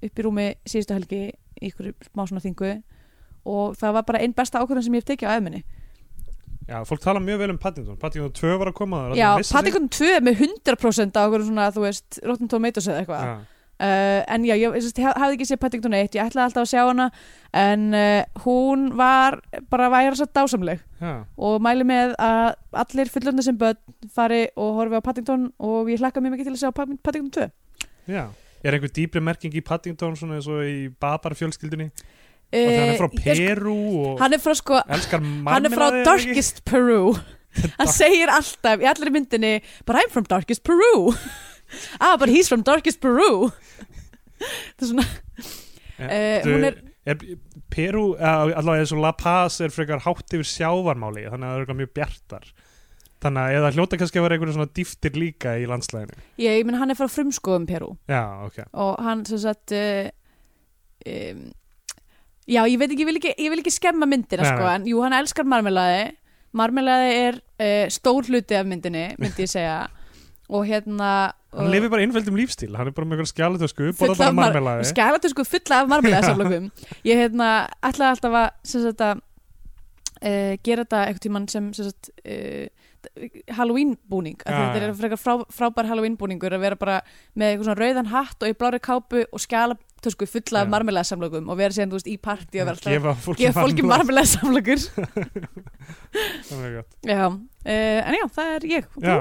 B: upp í rúmi síðustu helgi í ykkur smá svona þingu og það var bara einn besta ákvörðan sem ég hef tekið á æfminni
C: já, fólk tala mjög vel um Paddington Paddington 2 var að koma það er allir
B: Já,
C: að missa sig.
B: Paddington 2 er með 100% á okkur svona, þú veist, Rotten Tomatoes eða eitthvað
C: Já.
B: uh, en já, ég, ég sest, haf, hafði ekki séð Paddington 1 ég ætlaði alltaf að sjá hana en uh, hún var bara væri svo dásamleg
C: Já,
B: og mæli með að allir fullönda sem börn fari og horfi á Paddington og ég hlakka mjög mikið til að sjá Pa- Paddington 2
C: já Er einhver dýpri merking í Paddington svona eins og í Babar fjölskyldinni?
B: Uh,
C: og hann er frá Eh,
B: ég-
C: Peru og
B: hann er frá sko
C: elskar
B: hann er
C: marmelaði
B: frá
C: eða ekki? [LAUGHS]
B: Darkest Peru hann segir alltaf í allri myndinni bara I'm from Darkest Peru [LAUGHS] ah but he's from Darkest Peru [LAUGHS] það er svona
C: Ja,
B: Eh,
C: þú-
B: hún er-
C: er Peru, eh, allavega eins og La Paz er frekar hátt yfir sjávarmáli þannig að það eru eitthvað mjög bjartar þannig að eða hljóta kannski að vera einhverju svona dýftir líka í landslæðinu
B: ég, ég menn hann er frá frumskóðum Peru
C: já, ok,
B: og hann sem sagt uh, um, já ég veit ekki ég vil ekki, ég vil ekki skemma myndina
C: Nei,
B: sko
C: nei.
B: en jú hann elskar marmelaði marmelaði er uh, stór hluti af myndinni myndi ég segja og hérna
C: hann
B: og-
C: lifir bara innfældum lífstíl hann er bara með einhverja skjálutösku,
B: Fulla
C: borða bara
B: af mar-
C: marmelaði
B: skælatur sko fulla af
C: [LAUGHS]
B: marmelaðasamlökum ég hérna ætlaði alltaf að sem sagt að uh, gera þetta einhvern tímann sem sem sagt uh, Halloween búning af því
C: Já,
B: þetta
C: já.
B: er frekar frá, frábær Halloween búningur að vera bara með eitthvað svona rauðan hatt og í blári kápu og skælatur sko fulla af
C: Já.
B: marmelaðasamlökum og vera síðan þú veist í partí og vera alltaf
C: gefa fólki
B: gefa fólki
C: [LAUGHS]
B: marmelaðasamlökur
C: marmelaði
B: já, uh, en já það er ég Og
C: já,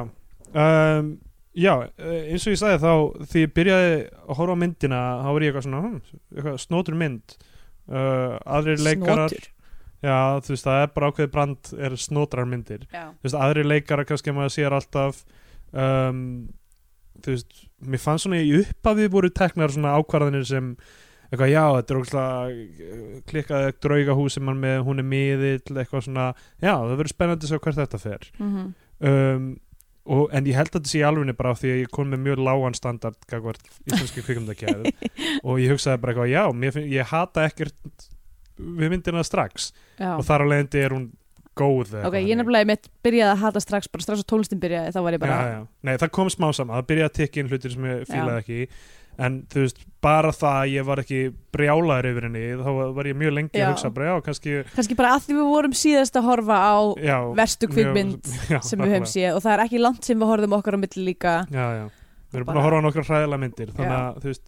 C: um, já eh, eins og ég sagði þá því ég byrjaði að horfa á myndina þá var ég eitthvað svona hm, eitthvað, snotur mynd uh, aðrir
B: þú?
C: leikarar
B: Snotur.
C: Já, þú veist, það er bara ákveðið brand er snotrar myndir.
B: já,
C: Þú veist, aðri leikara kannski maður sér alltaf um, þú veist, mér fannst svona í upphafið voru teknar svona ákvarðanir sem eitthvað, já, þetta er eh, ógæslega klikkaði draugahús sem hann með, hún er miðill, eitthvað svona, já, það verður spennandi að sjá hvert þetta fer.
B: mhm
C: Um, og, en ég held að þetta sé í alvegni bara af því að ég kom með mjög lágan standard gagvart íslenski kvikumdakjæð og ég hugsaði bara eitthvað, já, mér finn, ég hata ekkert við myndina strax
B: já.
C: og þar á leiðandi er hún góð
B: Ok,
C: eða eitthvað
B: ég
C: þannig.
B: nefnilega mitt byrjaði að hata strax bara strax á tónlistin byrjaði, þá var ég bara
C: já, já. Nei, það kom smá saman, það byrjaði að tekja inn hlutir sem ég fílaði ekki en þú veist, bara það að ég var ekki brjálaður yfir henni, þá var ég mjög lengi
B: Já.
C: að hugsa bara, já, kannski
B: kannski bara að því við vorum síðast að horfa á
C: já,
B: verstu
C: mjög-
B: kvikmynd
C: [LAUGHS] já,
B: sem við höfum
C: nákvæmlega.
B: séð og það er ekki langt sem við horfum okkar á milli líka
C: já, já. við erum
B: Bara-
C: búin að horfa á nokkra hræðilega myndir þannig
B: Já.
C: að, þú veist,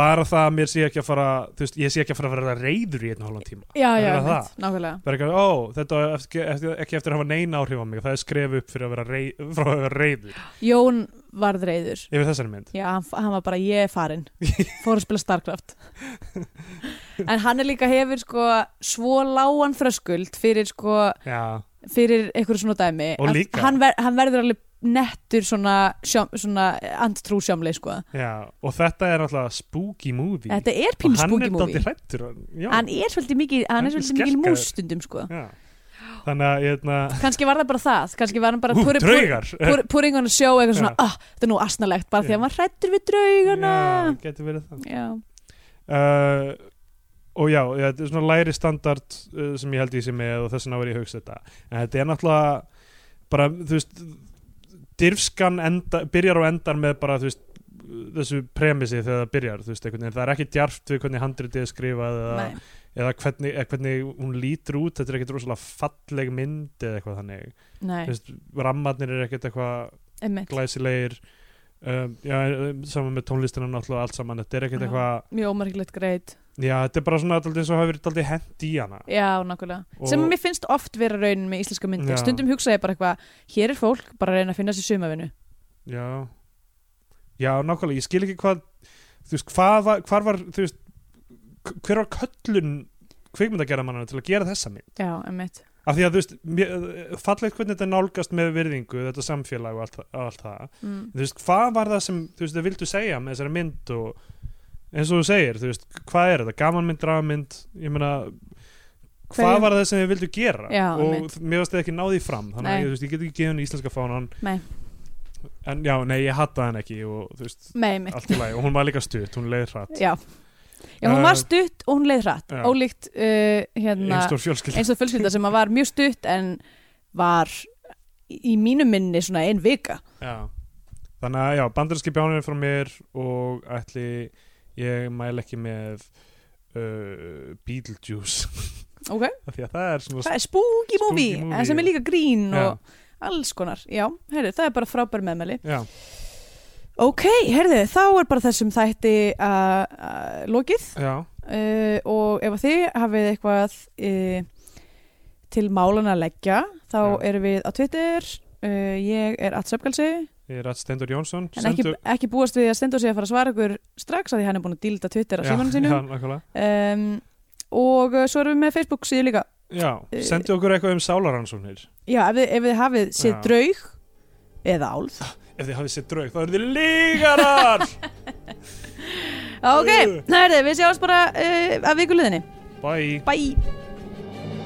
C: bara það að mér sé ekki að fara þú veist, ég sé ekki að fara að vera reyður í einn og hálfan tíma
B: Já, já,
C: Það er
B: einmitt,
C: það.
B: nákvæmlega
C: bara ekki, ó, þetta á eftir, eftir, ekki eftir að hafa neina áhrif á mig það er skref upp fyrir að vera, rey, [LAUGHS] frá að vera reyður
B: Jón varð reyður
C: yfir þessari mynd
B: Já, hann, hann var bara ég er
C: [LAUGHS]
B: farinn fór að spila Starcraft en hann er líka hefur sko svo lágan fröskuld fyrir sko,
C: já,
B: fyrir einhverju svona dæmi
C: Og
B: að
C: líka-
B: hann, ver, hann verður alveg nettur svona, sjá, svona andtrú sjámleið sko
C: Já, og þetta er náttúrulega spooky movie
B: Þetta er pínu
C: Og
B: spooky
C: Hann er
B: movie
C: dálítið hrættur já,
B: Hann er svolítið mikið, hann er
C: Hann er
B: svolítið mikið
C: skelkaður.
B: mústundum sko
C: já. Þannig að ég hefna,
B: Kanski var það bara það, kannski var hann bara
C: Ú,
B: púri- púri-
C: draugar
B: púri- púring hann að sjó eitthvað svona,
C: Já.
B: ah, þetta er nú asnalegt bara því
C: Já.
B: að hann var hrættur við draugana
C: Já, getur verið það
B: Já,
C: uh, Og já, já, þetta er svona læri standard uh, sem ég held ég sem með og þess vegna var ég að hugsa þetta En þetta er náttúrulega bara, þú veist dirfskan enda, byrjar og endar með bara, þú veist þessu premissi þegar það byrjar, þú veist, einhvern veginn það er ekki djarft við hvernig handritið er skrifað eða,
B: nei,
C: eða hvernig, eða hvernig hún lítur út þetta er ekkert rosalega falleg mynd eða eitthvað þannig
B: nei,
C: Þú veist, rammarnir er ekkert eitthvað
B: emmitt
C: glæsilegir um, já, um, saman með tónlistina náttúrulega allt saman, þetta er ekkert
B: Já.
C: eitthvað
B: Mjög ómerkilegt greit,
C: já, þetta er bara svona dálítið eins og hafa verið daldið hent í hana
B: já, nákvæmlega
C: Og-
B: Sem að mér finnst oft vera raunin með íslenska myndir
C: Já.
B: Stundum hugsa ég bara eitthvað, hér er fólk bara að reyna að finna sér sumavinu
C: já, já, nákvæmlega ég skil ekki hvað, þú veist, hvað var, hvar var, þú veist k- hver var köllun kvikmyndagerðamannana til að gera þessa mynd,
B: Já, emmitt,
C: af því að þú veist mér, fallegt hvernig þetta nálgast með virðingu þetta samfélag og allt, það- allt það
B: mm,
C: þú veist, hvað var það sem þú veist, þau vildu segja með þessari mynd og eins og þú segir, þú veist, hvað er þetta gaman mynd, dramamynd, ég meina hvað
B: Hverju-
C: var það sem þau vildu gera
B: Já,
C: og
B: einmitt.
C: mér varst það ekki náði fram þannig
B: Nei.
C: að ég, þú veist, ég get ekki gefin íslenska fánan
B: nei,
C: en já, nei, ég hattaði hann ekki og þú veist,
B: Nei, mitt
C: allt í lagi og hún var líka stutt, hún leið hratt
B: Já, já hún var
C: Eh,
B: stutt og hún leið hratt
C: já.
B: Ólíkt uh, hérna,
C: einstór fjölskyld
B: eins og fjölskylda sem að var mjög stutt en var í mínu minni svona ein vika
C: já. þannig að já, bandarinski bjánurinn frá mér og ætli ég mæl ekki með uh, Beetlejuice
B: [LAUGHS] Ok,
C: Af því að það er svona
B: það er spooky movie,
C: Spooky movie,
B: en sem er
C: já.
B: líka grín
C: Já.
B: og alls konar Já, heyrðu, það er bara frábær meðmæli
C: já,
B: Ok, heyrðu, þá er bara þessum þætti uh, uh, lokið
C: já,
B: uh, og ef að þið hafið eitthvað uh, til málan að leggja þá
C: Já.
B: erum við á Twitter uh, ég er atsöpkalsi
C: ég er að Stendur Jónsson
B: en ekki, ekki búast við að Stendur sé að fara að svara ykkur strax að því hann er búin að dílda Twitter á símanum
C: já,
B: sínum
C: nákvæmlega.
B: um, og uh, svo erum við með Facebook síðu líka
C: já,
B: Eh,
C: sendu okkur eitthvað um sálaransóknir
B: já, ef þið, ef þið hafið séð
C: Já.
B: draug eða álf
C: ef þið hafið sér draug, þá eru þið lígarar
B: [LAUGHS] ok,
C: Ugh.
B: herðu, við sjáumst bara uh, að vikuleðinni,
C: bye
B: bye